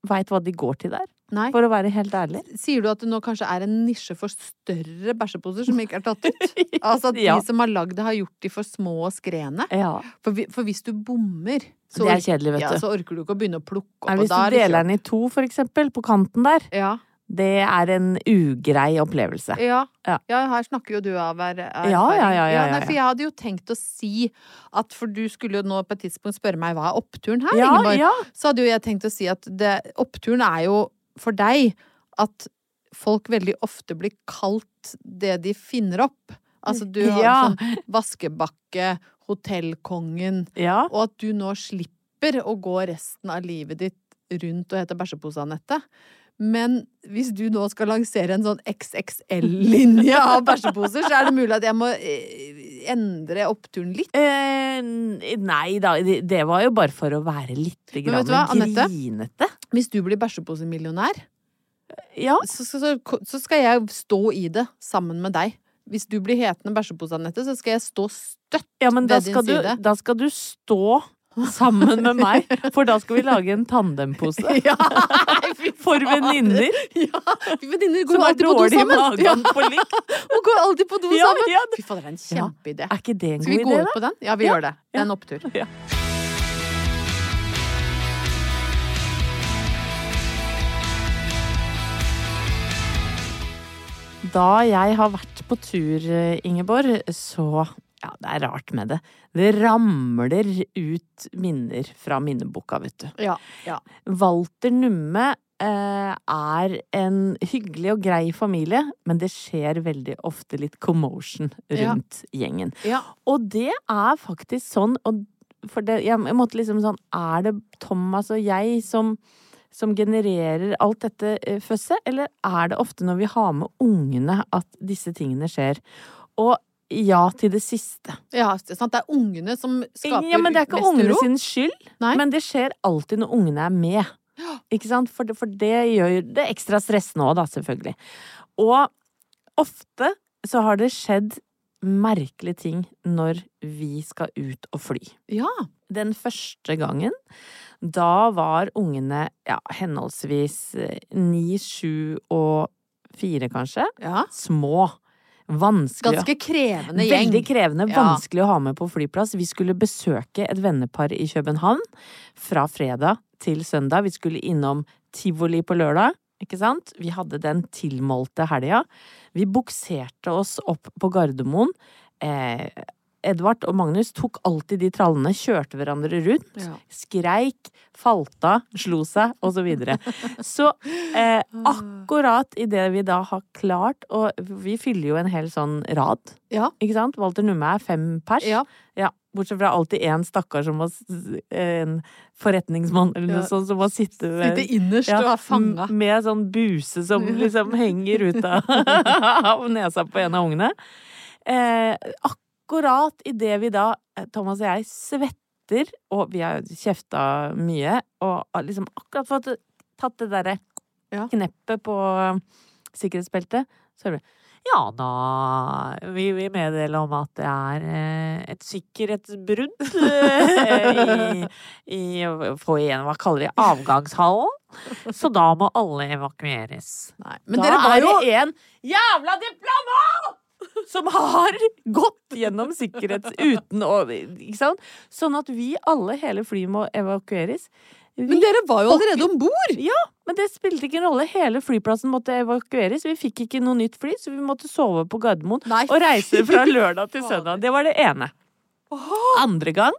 Speaker 2: veit hva de går til der,
Speaker 3: Nei.
Speaker 2: for å være helt ærlig.
Speaker 3: Sier du at det nå kanskje er en nisje for større bæsjeposer som ikke er tatt ut? Altså at de
Speaker 2: Ja.
Speaker 3: som har lagd det, har gjort de for små og skrene?
Speaker 2: Ja.
Speaker 3: For, vi- for hvis du bommer, så,
Speaker 2: det
Speaker 3: ork-
Speaker 2: er kjedelig, vet
Speaker 3: ja,
Speaker 2: du.
Speaker 3: så orker du ikke å begynne å plukke opp.
Speaker 2: Nei,
Speaker 3: og
Speaker 2: hvis
Speaker 3: da
Speaker 2: du
Speaker 3: er det
Speaker 2: deler
Speaker 3: kjørt.
Speaker 2: den i to, for eksempel, på kanten der,
Speaker 3: Ja.
Speaker 2: det er en ugrei opplevelse.
Speaker 3: Ja.
Speaker 2: Ja.
Speaker 3: ja. her snakker jo du av er- erfaring.
Speaker 2: Ja, ja, ja, ja, ja,
Speaker 3: nei,
Speaker 2: ja.
Speaker 3: for jeg hadde jo tenkt å si at For du skulle jo nå på et tidspunkt spørre meg hva er oppturen her,
Speaker 2: Ja,
Speaker 3: Ingeborg?
Speaker 2: ja.
Speaker 3: Så hadde jo jeg tenkt å si at det, oppturen er jo for deg at folk veldig ofte blir kalt det de finner opp. Altså du har
Speaker 2: Ja.
Speaker 3: sånn vaskebakke, hotellkongen,
Speaker 2: ja.
Speaker 3: og at du nå slipper å gå resten av livet ditt rundt og hete bæsjepose-Anette. Men hvis du nå skal lansere en sånn XXL-linje av bæsjeposer, så er det mulig at jeg må eh, endre oppturen litt.
Speaker 2: Eh, nei da, det det var jo bare for å være litt
Speaker 3: Men
Speaker 2: grann
Speaker 3: vet du hva, Anette?
Speaker 2: grinete.
Speaker 3: Hvis du blir bæsjeposemillionær,
Speaker 2: Ja.
Speaker 3: så, så, så, så skal jeg stå i det sammen med deg. Hvis du blir hetende bæsjepose-Anette, så skal jeg stå støtt.
Speaker 2: ja, men da
Speaker 3: Ved din
Speaker 2: skal, du,
Speaker 3: side.
Speaker 2: da skal du stå sammen med meg, for da skal vi lage en tandempose.
Speaker 3: Ja,
Speaker 2: For venninner
Speaker 3: ja. Venninner
Speaker 2: som
Speaker 3: går jo
Speaker 2: er
Speaker 3: alltid på do
Speaker 2: dårlige i
Speaker 3: sammen. Ja,
Speaker 2: magen på likt.
Speaker 3: og går alltid på do
Speaker 2: Ja,
Speaker 3: sammen.
Speaker 2: ja.
Speaker 3: Fy fader, det er en
Speaker 2: Ja.
Speaker 3: kjempeidé.
Speaker 2: Er ikke det en
Speaker 3: Skal vi
Speaker 2: god
Speaker 3: gå
Speaker 2: idé,
Speaker 3: ut
Speaker 2: da?
Speaker 3: på den? Ja, vi
Speaker 2: Ja.
Speaker 3: gjør det. Det er en opptur.
Speaker 2: Ja. Da jeg har vært på tur, eh, Ingeborg, så Ja, det er rart med det. Det ramler ut minner fra minneboka, vet du.
Speaker 3: Ja. ja.
Speaker 2: Walter Numme eh, er en hyggelig og grei familie, men det skjer veldig ofte litt commotion
Speaker 3: Ja.
Speaker 2: rundt gjengen.
Speaker 3: ja.
Speaker 2: Og det er faktisk sånn, og for det, jeg, jeg måtte liksom sånn Er det Thomas og jeg som som genererer alt dette eh, føsset, eller er det ofte når vi har med ungene at disse tingene skjer? Og ja til det siste.
Speaker 3: Ja, det er sant. Det er ungene som skaper
Speaker 2: ja, men det er ikke
Speaker 3: mest
Speaker 2: ungene
Speaker 3: uro.
Speaker 2: sin skyld,
Speaker 3: Nei.
Speaker 2: men det skjer alltid når ungene er med. Ikke sant? For, det- for det gjør jo det er ekstra stressende òg, da, selvfølgelig. Og ofte så har det skjedd merkelige ting når vi skal ut og fly.
Speaker 3: Ja.
Speaker 2: Den første gangen, da var ungene ja, henholdsvis eh, ni, sju og fire, kanskje.
Speaker 3: ja.
Speaker 2: Små. Vanskelig. å-
Speaker 3: Ganske krevende gjeng.
Speaker 2: Veldig krevende,
Speaker 3: Ja.
Speaker 2: vanskelig å ha med på flyplass. Vi skulle besøke et vennepar i København fra fredag til søndag. Vi skulle innom tivoli på lørdag. Ikke sant? Vi hadde den tilmålte helga. Vi bukserte oss opp på Gardermoen. Eh, Edvard og Magnus tok alltid de trallene, kjørte hverandre rundt
Speaker 3: Ja.
Speaker 2: skreik, falt av, slo seg, og Så, videre. så eh,
Speaker 3: Ah.
Speaker 2: akkurat idet vi da har klart Og vi fyller jo en hel sånn rad,
Speaker 3: Ja.
Speaker 2: ikke sant? Walter Numme er fem pers.
Speaker 3: Ja.
Speaker 2: Ja, bortsett fra alltid en stakkar som må s- s- En forretningsmann eller noe
Speaker 3: Ja.
Speaker 2: sånt som må sitte ved-
Speaker 3: Sitte innerst og
Speaker 2: ja, Mm,
Speaker 3: være fanga.
Speaker 2: m- Med sånn buse som liksom henger ut av, av nesa på en av ungene. Eh, akkurat idet vi da, eh, Thomas og jeg, svetter, og vi har kjefta mye, og har liksom akkurat fått tatt det derre
Speaker 3: Ja.
Speaker 2: kneppet på sikkerhetsbeltet, så er det ja da vil vi meddele om at det er eh, et sikkerhetsbrudd eh, i, i Få igjen, hva kaller de avgangshallen? Så da må alle evakueres.
Speaker 3: Nei. Men
Speaker 2: da
Speaker 3: dere var
Speaker 2: er
Speaker 3: jo
Speaker 2: det en jævla diplomat som har gått gjennom sikkerhet uten å Ikke sant? Sånn at vi alle, hele flyet, må evakueres. Vi,
Speaker 3: Men dere var jo allerede om bord!
Speaker 2: men det spilte ikke en rolle. Hele flyplassen måtte evakueres. Vi fikk ikke noe nytt fly, så vi måtte sove på Gardermoen
Speaker 3: Nei,
Speaker 2: og reise fra
Speaker 3: fy
Speaker 2: lørdag til
Speaker 3: fader.
Speaker 2: søndag. Det var det ene. Andre gang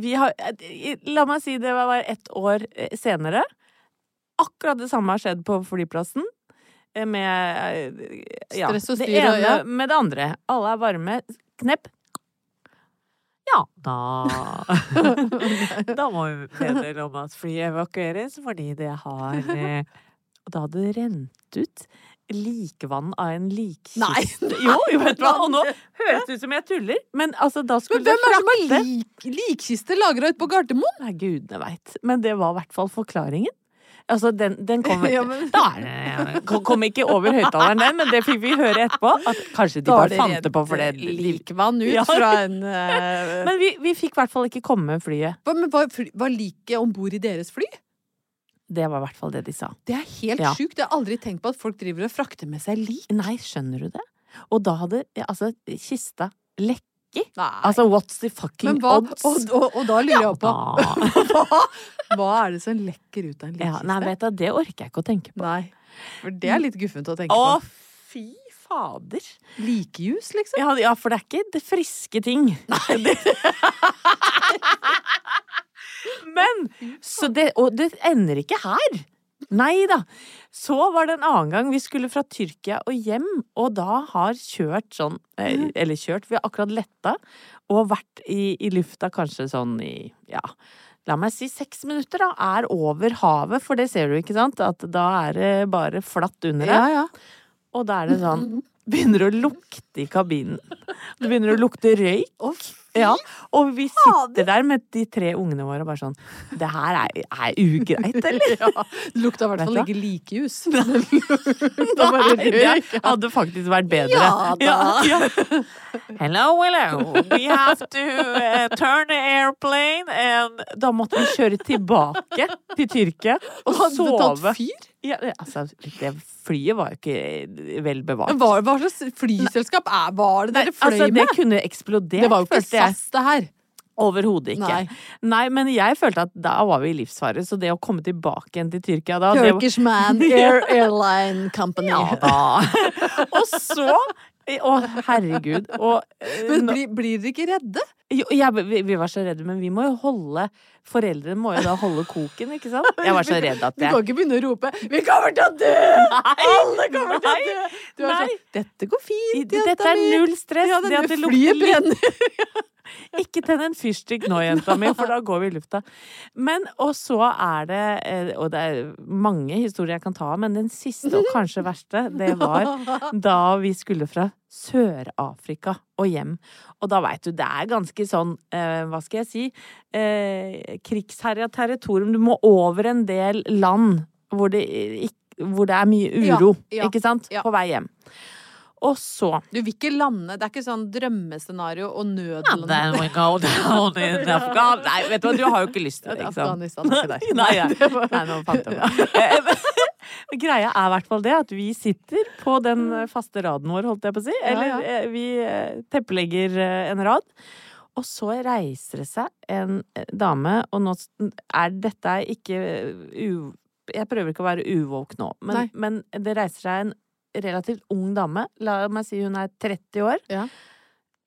Speaker 2: vi har, eh, La meg si det var ett år eh, senere. Akkurat det samme har skjedd på flyplassen. eh, Med eh, ja,
Speaker 3: Stress og
Speaker 2: det
Speaker 3: styr og-
Speaker 2: ene
Speaker 3: ja.
Speaker 2: med det andre. Alle er varme. Knepp. Ja, da Da må vi meddele om at flyet evakueres fordi det har eh, Og da hadde det rent ut likvann av en likkiste.
Speaker 3: Nei,
Speaker 2: Jo, jo, vet du hva! Og nå høres det ut som jeg tuller, men altså, da skulle
Speaker 3: Men hvem
Speaker 2: det
Speaker 3: er det som
Speaker 2: frakte-
Speaker 3: har lik, likkiste lagra ute på Gardermoen?
Speaker 2: Nei, gudene veit. Men det var i hvert fall forklaringen. Altså, den, den kommer
Speaker 3: Ja, men-
Speaker 2: Da er det kom- Kom ikke over høyttaleren, den, men det fikk vi høre etterpå. At kanskje de bare fant det på for
Speaker 3: eh,
Speaker 2: det
Speaker 3: likvann ut
Speaker 2: Ja.
Speaker 3: fra en eh,
Speaker 2: Men vi, vi fikk i hvert fall ikke komme med flyet.
Speaker 3: Hva- Men var, fly- var liket om bord i deres fly?
Speaker 2: Det var i hvert fall det de sa.
Speaker 3: Det er helt
Speaker 2: Ja.
Speaker 3: sjukt. Jeg har aldri tenkt på at folk driver og frakter med seg lik.
Speaker 2: Nei, skjønner du det? Og da hadde ja, altså, kista lekk.
Speaker 3: Nei.
Speaker 2: Altså, what's the fucking
Speaker 3: Men hva,
Speaker 2: odds?
Speaker 3: og, og, og da lurer jeg på
Speaker 2: da.
Speaker 3: hva, hva er det som lekker ut av en
Speaker 2: Ja, nei,
Speaker 3: likkiste?
Speaker 2: vet du, det orker jeg ikke å tenke på.
Speaker 3: nei, for det er litt guffent å tenke
Speaker 2: Å,
Speaker 3: på.
Speaker 2: fy fader.
Speaker 3: Likejus, liksom?
Speaker 2: Ja, ja, for det er ikke det friske ting. Men så det, Og det ender ikke her. Nei da. Så var det en annen gang vi skulle fra Tyrkia og hjem, og da har kjørt sånn eh, Eller kjørt, vi har akkurat letta og vært i, i lufta kanskje sånn i ja, la meg si seks minutter, da. Er over havet, for det ser du, ikke sant? At da er det bare flatt under deg.
Speaker 3: Ja, ja.
Speaker 2: Og da er det sånn Begynner å lukte i kabinen. Det begynner å lukte røyk. Ja, og vi sitter der med de tre ungene våre og bare sånn Det her er, er ugreit, eller?
Speaker 3: ja. Det lukta i
Speaker 2: Vet
Speaker 3: hvert fall
Speaker 2: du hva?
Speaker 3: ikke likejus. Da bare
Speaker 2: Nei,
Speaker 3: røyk.
Speaker 2: det hadde faktisk vært bedre.
Speaker 3: Ja da.
Speaker 2: Ja, ja. Hello, hello. We have to eh, turn the airplane and Da måtte vi kjøre tilbake til Tyrkia og
Speaker 3: Hadde det tatt
Speaker 2: sove.
Speaker 3: fyr?
Speaker 2: Ja, altså, det flyet var jo ikke vel bevart.
Speaker 3: Hva, hva slags flyselskap er, var det
Speaker 2: Nei,
Speaker 3: dere fløy
Speaker 2: altså, det
Speaker 3: med?
Speaker 2: kunne eksplodert,
Speaker 3: Det var jo ikke
Speaker 2: følte jeg.
Speaker 3: SAS, det her.
Speaker 2: Overhodet ikke.
Speaker 3: Nei.
Speaker 2: Nei. men jeg følte at da var vi i livsfare, så det å komme tilbake igjen til Tyrkia da det var-
Speaker 3: Turkish Man Air Airline Company.
Speaker 2: Ja da. og så Å, herregud. Og eh,
Speaker 3: Men
Speaker 2: nå-
Speaker 3: blir, blir dere ikke redde?
Speaker 2: jo, jeg, vi, vi var så redde, men vi må jo holde Foreldrene må jo da holde koken, ikke sant? Jeg var så redd at
Speaker 3: Du kan
Speaker 2: jeg
Speaker 3: ikke begynne å rope 'Vi kommer til å dø!' Alle kommer til å dø! Du er
Speaker 2: Nei.
Speaker 3: sånn 'Dette går fint,
Speaker 2: Dette er
Speaker 3: mi.»
Speaker 2: null stress.
Speaker 3: Ja,
Speaker 2: det,
Speaker 3: det
Speaker 2: at det lukter
Speaker 3: flyet
Speaker 2: litt
Speaker 3: brenner.
Speaker 2: Ikke tenn en fyrstikk nå, jenta mi, for da går vi i lufta. Men, og så er det eh, Og det er mange historier jeg kan ta, men den siste og kanskje verste, det var da vi skulle fra Sør-Afrika og hjem. Og da veit du, det er ganske sånn, eh, hva skal jeg si, eh, krigsherja territorium. Du må over en del land hvor det, eh, ikk- hvor det er mye
Speaker 3: Ja,
Speaker 2: uro,
Speaker 3: ja,
Speaker 2: ikke sant,
Speaker 3: ja.
Speaker 2: på vei hjem. Og så
Speaker 3: Du vil ikke lande Det er ikke sånn drømmescenario og
Speaker 2: And then
Speaker 3: nødlande.
Speaker 2: we go down in Afghan Nei, vet du hva, du har jo ikke lyst til det, ikke sant?
Speaker 3: Afghanistan er ikke der.
Speaker 2: liksom. Nei, ja.
Speaker 3: det var-
Speaker 2: Nei, nå fant jeg på. Men Greia er i hvert fall det at vi sitter på den faste raden vår, holdt jeg på å si.
Speaker 3: Ja,
Speaker 2: Eller
Speaker 3: ja.
Speaker 2: eh, vi eh, teppelegger eh, en rad. Og så reiser det seg en eh, dame, og nå s- er dette er ikke eh, u... Jeg prøver ikke å være uvåk nå, men,
Speaker 3: Nei.
Speaker 2: men det reiser seg en relativt ung dame. La meg si hun er 30 år.
Speaker 3: Ja.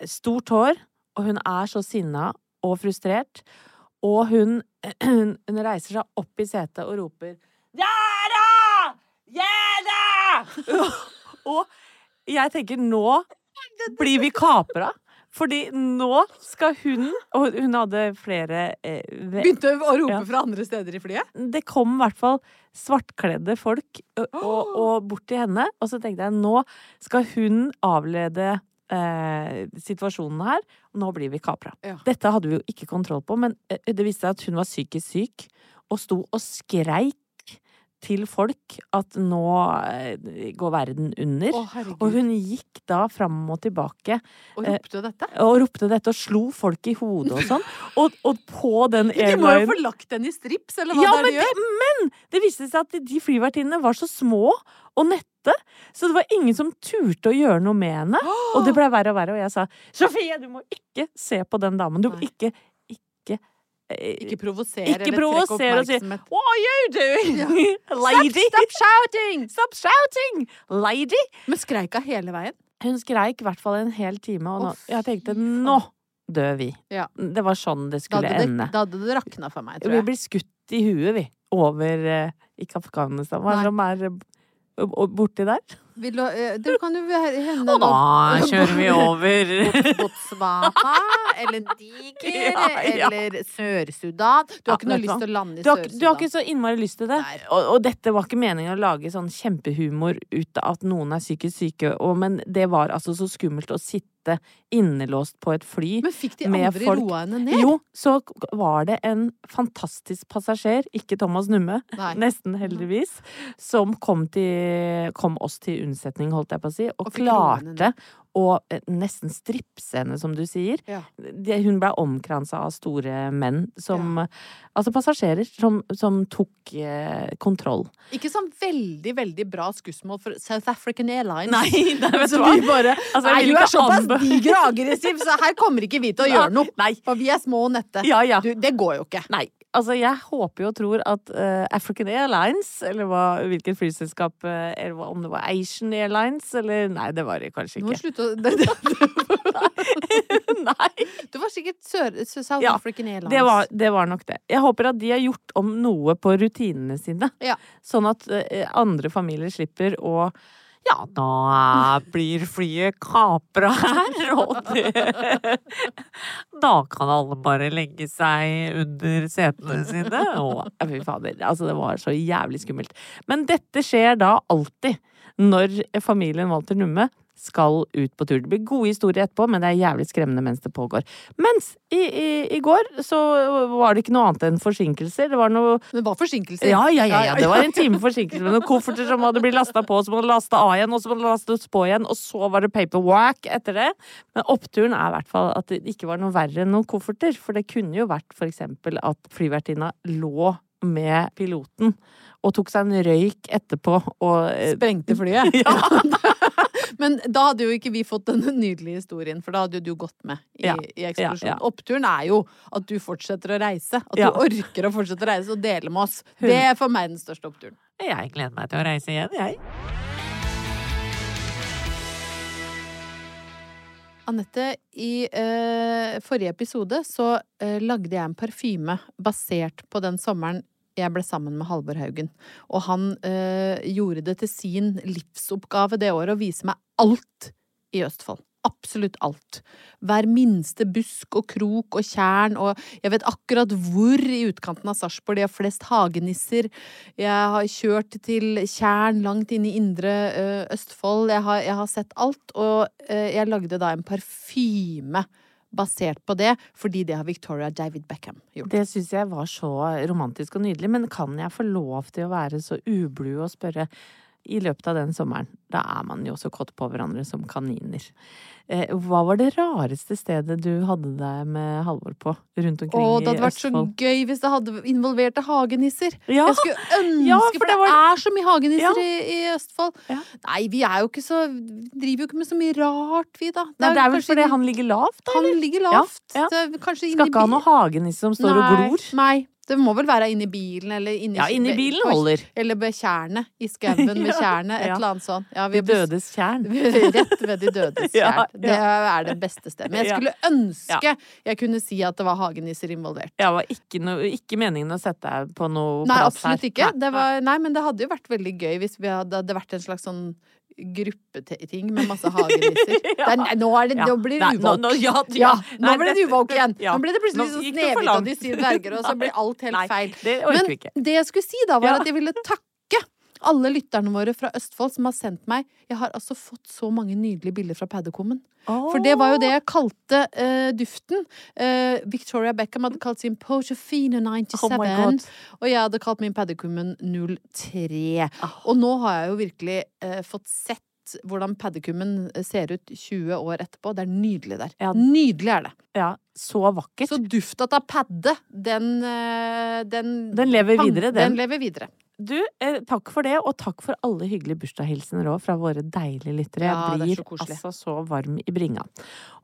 Speaker 2: Stort hår, og hun er så sinna og frustrert. Og hun, hun reiser seg opp i setet og roper Jæra! Jæra! og jeg tenker nå blir vi kapra. Fordi nå skal hun Og hun hadde flere eh, ve-
Speaker 3: Begynte å rope
Speaker 2: Ja.
Speaker 3: fra andre steder i flyet?
Speaker 2: det kom i hvert fall svartkledde folk ø, og, og bort til henne. Og så tenkte jeg nå skal hun avlede eh, situasjonen her. Nå blir vi kapra.
Speaker 3: Ja.
Speaker 2: Dette hadde vi jo ikke kontroll på, men eh, det viste seg at hun var psykisk syk og sto og skreik til folk at nå eh, går verden under.
Speaker 3: Å, herregud.
Speaker 2: Og hun eh, gikk da fram og tilbake
Speaker 3: Og ropte dette?
Speaker 2: og ropte dette og slo folk i hodet og sånn. Og, og på den
Speaker 3: De må jo
Speaker 2: airlinen
Speaker 3: få lagt den i strips, eller hva det er de
Speaker 2: men,
Speaker 3: gjør.
Speaker 2: det, men det viste seg at de flyvertinnene var så små og nette, så det var ingen som turte å gjøre noe med henne. Og det ble verre og verre, og jeg sa Sofie, du må ikke se på den damen. Du må
Speaker 3: Nei.
Speaker 2: ikke Ikke eh,
Speaker 3: Ikke provosere
Speaker 2: ikke
Speaker 3: eller trekke
Speaker 2: provosere og si
Speaker 3: oppmerksomhet.
Speaker 2: What are you doing, lady?
Speaker 3: Stop shouting!
Speaker 2: Stop shouting, lady!
Speaker 3: Men skreika hele veien?
Speaker 2: Hun skreik i hvert fall en hel time, og
Speaker 3: Å,
Speaker 2: nå, jeg tenkte
Speaker 3: fy faen.
Speaker 2: nå dør vi.
Speaker 3: Ja.
Speaker 2: Det var sånn det
Speaker 3: Da
Speaker 2: skulle
Speaker 3: hadde det,
Speaker 2: ende.
Speaker 3: da hadde det rakna for meg, tror
Speaker 2: Vi
Speaker 3: jeg.
Speaker 2: blir skutt i huet, vi. Over eh, Ikke Afghanistan. Hva er det som er eh, b- b- borti der?
Speaker 3: Vi lå- eh, det kan jo være- hende
Speaker 2: Og da kjører vi over
Speaker 3: Botswana eller Niger
Speaker 2: Ja, ja.
Speaker 3: eller Sør-Sudan. Du
Speaker 2: Ja,
Speaker 3: har ikke noe
Speaker 2: vet du hva?
Speaker 3: lyst til å lande i
Speaker 2: du har, ikke- du har
Speaker 3: Sør-Sudan.
Speaker 2: ikke så innmari lyst til det.
Speaker 3: Nei.
Speaker 2: Og, og dette var ikke meningen å lage sånn kjempehumor ut av at noen er psykisk syke, og, men det var altså så skummelt å sitte innelåst på et fly.
Speaker 3: Men fikk de
Speaker 2: med
Speaker 3: andre
Speaker 2: folk.
Speaker 3: roa henne ned?
Speaker 2: Jo, så k- var det en fantastisk passasjer, ikke Thomas Numme,
Speaker 3: Nei.
Speaker 2: nesten heldigvis, som kom, til, kom oss til unnsetning, holdt jeg på å si, og,
Speaker 3: Og fikk roa henne
Speaker 2: klarte å eh, nesten stripse henne, som du sier.
Speaker 3: Ja.
Speaker 2: Det- Hun ble omkransa av store menn, som Altså passasjerer som, som tok eh, kontroll.
Speaker 3: Ikke sånn veldig, veldig bra skussmål for South African Airlines.
Speaker 2: nei, vet
Speaker 3: Så vi bare
Speaker 2: Altså, jeg
Speaker 3: Nei,
Speaker 2: vil
Speaker 3: du
Speaker 2: ikke
Speaker 3: er såpass
Speaker 2: anbe-
Speaker 3: diger og aggressiv, så her kommer ikke vi til å gjøre noe.
Speaker 2: Nei.
Speaker 3: For vi er små og nette.
Speaker 2: Ja, ja.
Speaker 3: Du, det går jo ikke.
Speaker 2: Nei. Altså, jeg håper jo og tror at eh, African Airlines, eller hva, hvilket flyselskap eh, Eller hva- om det var Asian Airlines, eller Nei, det var det kanskje
Speaker 3: Du må
Speaker 2: ikke.
Speaker 3: slutte å det, det,
Speaker 2: nei!
Speaker 3: det var sikkert Sør, South
Speaker 2: Ja,
Speaker 3: African Airlines.
Speaker 2: Det var, det var nok det. Jeg håper at de har gjort om noe på rutinene sine,
Speaker 3: Ja.
Speaker 2: sånn at eh, andre familier slipper å ja, da blir flyet kapra her, og det Da kan alle bare legge seg under setene sine. Og ja, fy fader, altså det var så jævlig skummelt. Men dette skjer da alltid når familien Walter Numme skal ut på tur. Det blir gode historier etterpå, men det er jævlig skremmende mens det pågår. Mens i, i, i går så var det ikke noe annet enn forsinkelser. Det var noe
Speaker 3: Men det var forsinkelser.
Speaker 2: ja, ja, ja, ja. Det var en time forsinkelse med noen kofferter som hadde blitt lasta på, som hadde lasta av igjen, og som hadde lastes på igjen, og så var det paperwork etter det. Men oppturen er i hvert fall at det ikke var noe verre enn noen kofferter. For det kunne jo vært for eksempel at flyvertinna lå med piloten og tok seg en røyk etterpå og eh,
Speaker 3: Sprengte flyet. Men da hadde jo ikke vi fått den nydelige historien, for da hadde jo du gått med i,
Speaker 2: Ja,
Speaker 3: i eksplosjonen.
Speaker 2: ja, ja.
Speaker 3: Oppturen er jo at du fortsetter å reise. At
Speaker 2: Ja.
Speaker 3: du orker å fortsette å reise og dele med oss.
Speaker 2: Hun-
Speaker 3: Det er for meg den største oppturen.
Speaker 2: Jeg gleder meg til å reise igjen, jeg.
Speaker 3: Anette, i eh, forrige episode så eh, lagde jeg en parfyme basert på den sommeren jeg ble sammen med Halvor Haugen. Og han eh, gjorde det til sin livsoppgave det året å vise meg alt i Østfold. Absolutt alt. Hver minste busk og krok og tjern, og jeg vet akkurat hvor i utkanten av Sarpsborg de har flest hagenisser. Jeg har kjørt til tjern langt inn i indre eh, Østfold. Jeg har, jeg har sett alt, og eh, jeg lagde da en parfyme basert på det, fordi det har Victoria David Beckham gjort.
Speaker 2: Det syns jeg var så romantisk og nydelig, men kan jeg få lov til å være så ublu og spørre i løpet av den sommeren. Da er man jo så kåt på hverandre som kaniner. Eh, hva var det rareste stedet du hadde deg med Halvor på rundt
Speaker 3: Å,
Speaker 2: omkring
Speaker 3: det hadde
Speaker 2: i
Speaker 3: vært så
Speaker 2: Østfold?
Speaker 3: gøy hvis det hadde involverte hagenisser.
Speaker 2: Ja,
Speaker 3: Jeg skulle ønske,
Speaker 2: Ja,
Speaker 3: for, det, er så mye
Speaker 2: Ja.
Speaker 3: hagenisser i, i Østfold.
Speaker 2: Ja.
Speaker 3: Nei, vi er jo ikke så Driver jo ikke med så mye rart, vi, da.
Speaker 2: Nei, det er vel
Speaker 3: kanskje
Speaker 2: fordi
Speaker 3: inn-
Speaker 2: han ligger lavt, da?
Speaker 3: han ligger
Speaker 2: Ja,
Speaker 3: lavt.
Speaker 2: ja.
Speaker 3: Det er kanskje inn
Speaker 2: Skal
Speaker 3: i
Speaker 2: ikke ha
Speaker 3: bil-
Speaker 2: noe hagenisse som står og
Speaker 3: Nei,
Speaker 2: glor?
Speaker 3: Nei. Det må vel være inni bilen, eller inni,
Speaker 2: Ja, inni bilen
Speaker 3: på-
Speaker 2: holder.
Speaker 3: Eller ved tjernet. I skauen ved
Speaker 2: Ja,
Speaker 3: tjernet. Et
Speaker 2: ja.
Speaker 3: eller annet sånt. Ja,
Speaker 2: De
Speaker 3: vi har bes-
Speaker 2: dødes tjern.
Speaker 3: Rett ved de dødes
Speaker 2: Ja,
Speaker 3: fjær. Det er det beste stedet. Men jeg
Speaker 2: Ja.
Speaker 3: skulle ønske jeg kunne si at det var hagenisser involvert.
Speaker 2: Ja, det var ikke, noe- ikke meningen å sette deg på noe
Speaker 3: Nei,
Speaker 2: plass her.
Speaker 3: absolutt ikke. Det var, nei, men det hadde jo vært veldig gøy hvis vi hadde, det hadde vært en slags sånn gruppeting med masse hagenisser. Det er- nei, nå, er det,
Speaker 2: Ja.
Speaker 3: nå blir det
Speaker 2: Nei, nå-
Speaker 3: uvåk.
Speaker 2: nå- ja,
Speaker 3: Ja,
Speaker 2: ja.
Speaker 3: nå
Speaker 2: Nei,
Speaker 3: ble det
Speaker 2: dette-
Speaker 3: uvåk igjen.
Speaker 2: ja.
Speaker 3: Nå ble det plutselig
Speaker 2: Nå
Speaker 3: sånn
Speaker 2: gikk det for
Speaker 3: Snehvit og
Speaker 2: langt.
Speaker 3: de syv dverger, og så ble alt helt
Speaker 2: Nei,
Speaker 3: feil.
Speaker 2: Det orker
Speaker 3: Men
Speaker 2: vi ikke.
Speaker 3: det jeg skulle si da, var
Speaker 2: Ja.
Speaker 3: at jeg ville takke alle lytterne våre fra Østfold som har sendt meg Jeg har altså fått så mange nydelige bilder fra paddekommen. For det var jo det jeg kalte eh, duften. Eh, Victoria Beckham hadde kalt sin Pochofino 97.
Speaker 2: Oh my God.
Speaker 3: og jeg hadde kalt min Paddekummen 03.
Speaker 2: Ah.
Speaker 3: Og nå har jeg jo virkelig eh, fått sett hvordan Paddekummen ser ut 20 år etterpå. Det er nydelig der.
Speaker 2: Ja.
Speaker 3: Nydelig er det.
Speaker 2: Ja, så vakkert.
Speaker 3: Så dufta av padde, den, eh, den
Speaker 2: den lever videre, den.
Speaker 3: Den lever videre.
Speaker 2: Du, eh, takk for det, og takk for alle hyggelige bursdagshilsener òg fra våre deilige lyttere.
Speaker 3: Ja,
Speaker 2: Jeg
Speaker 3: det
Speaker 2: blir
Speaker 3: er så koselig.
Speaker 2: altså så varm i bringa.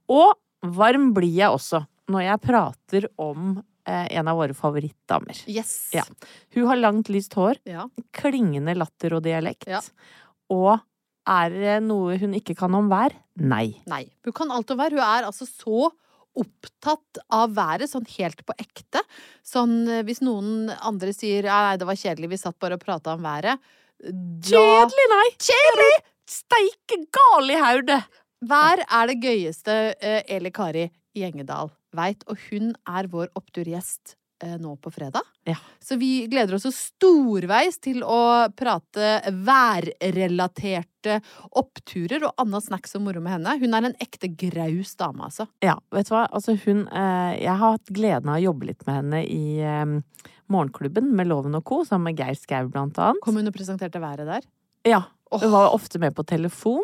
Speaker 2: Og varm blir jeg også når jeg prater om eh, en av våre favorittdamer.
Speaker 3: Yes.
Speaker 2: Ja. Hun har langt, lyst hår,
Speaker 3: Ja.
Speaker 2: klingende latter og dialekt.
Speaker 3: Ja.
Speaker 2: Og er det noe hun ikke kan om vær? Nei.
Speaker 3: Nei. Hun kan alt om vær. Hun er altså så opptatt av været, sånn helt på ekte. Sånn eh, hvis noen andre sier «Ja, 'nei, det var kjedelig, vi satt bare og prata om været', da
Speaker 2: Kjedelig, nei! Kjedelig! Steike gal i hodet!
Speaker 3: Vær er det gøyeste eh, Eli Kari Gjengedal veit, og hun er vår oppturgjest eh, nå på fredag.
Speaker 2: Ja.
Speaker 3: Så vi gleder oss jo storveis til å prate værrelaterte oppturer og anna snacks og moro med henne. Hun er en ekte graus dame, altså.
Speaker 2: Ja, vet du hva? Altså hun, eh, jeg har hatt gleden av å jobbe litt med henne i eh, Morgenklubben med Loven og co., sammen med Geir Skau blant annet.
Speaker 3: Kom hun og presenterte været der?
Speaker 2: Ja,
Speaker 3: Åh,
Speaker 2: Hun var ofte med på telefon,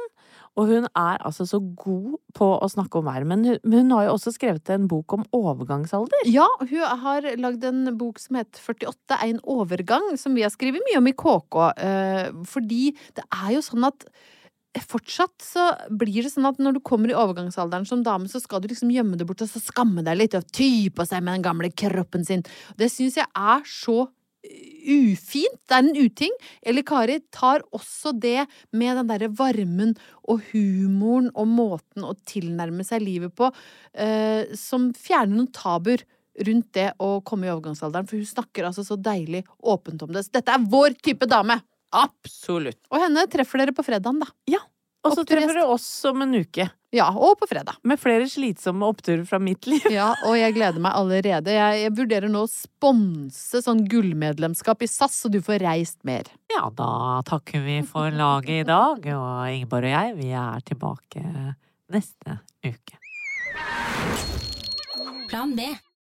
Speaker 2: og hun er altså så god på å snakke om været. Men hun, men hun har jo også skrevet en bok om overgangsalder.
Speaker 3: Ja, hun har lagd en bok som heter 48 er en overgang, som vi har skrevet mye om i KK. eh, Fordi det er jo sånn at fortsatt så blir det sånn at når du kommer i overgangsalderen som dame, så skal du liksom gjemme det bort og så skamme deg litt og ty på seg med den gamle kroppen sin. Det syns jeg er så eh, ufint. Det er en uting. Eller Kari tar også det med den derre varmen og humoren og måten å tilnærme seg livet på, eh, som fjerner noen tabuer rundt det å komme i overgangsalderen. For hun snakker altså så deilig åpent om det. Så dette er vår type dame!
Speaker 2: Absolutt.
Speaker 3: Og henne treffer dere på fredagen, da.
Speaker 2: Og så
Speaker 3: Optimist.
Speaker 2: treffer du oss om en uke.
Speaker 3: Ja, og på fredag.
Speaker 2: Med flere slitsomme oppturer fra mitt liv.
Speaker 3: Ja, og jeg gleder meg allerede. Jeg, jeg vurderer nå å sponse sånn gullmedlemskap i SAS, så du får reist mer.
Speaker 2: Ja, da takker vi for laget i dag, og Ingeborg og jeg, vi er tilbake neste uke.
Speaker 4: Plan B.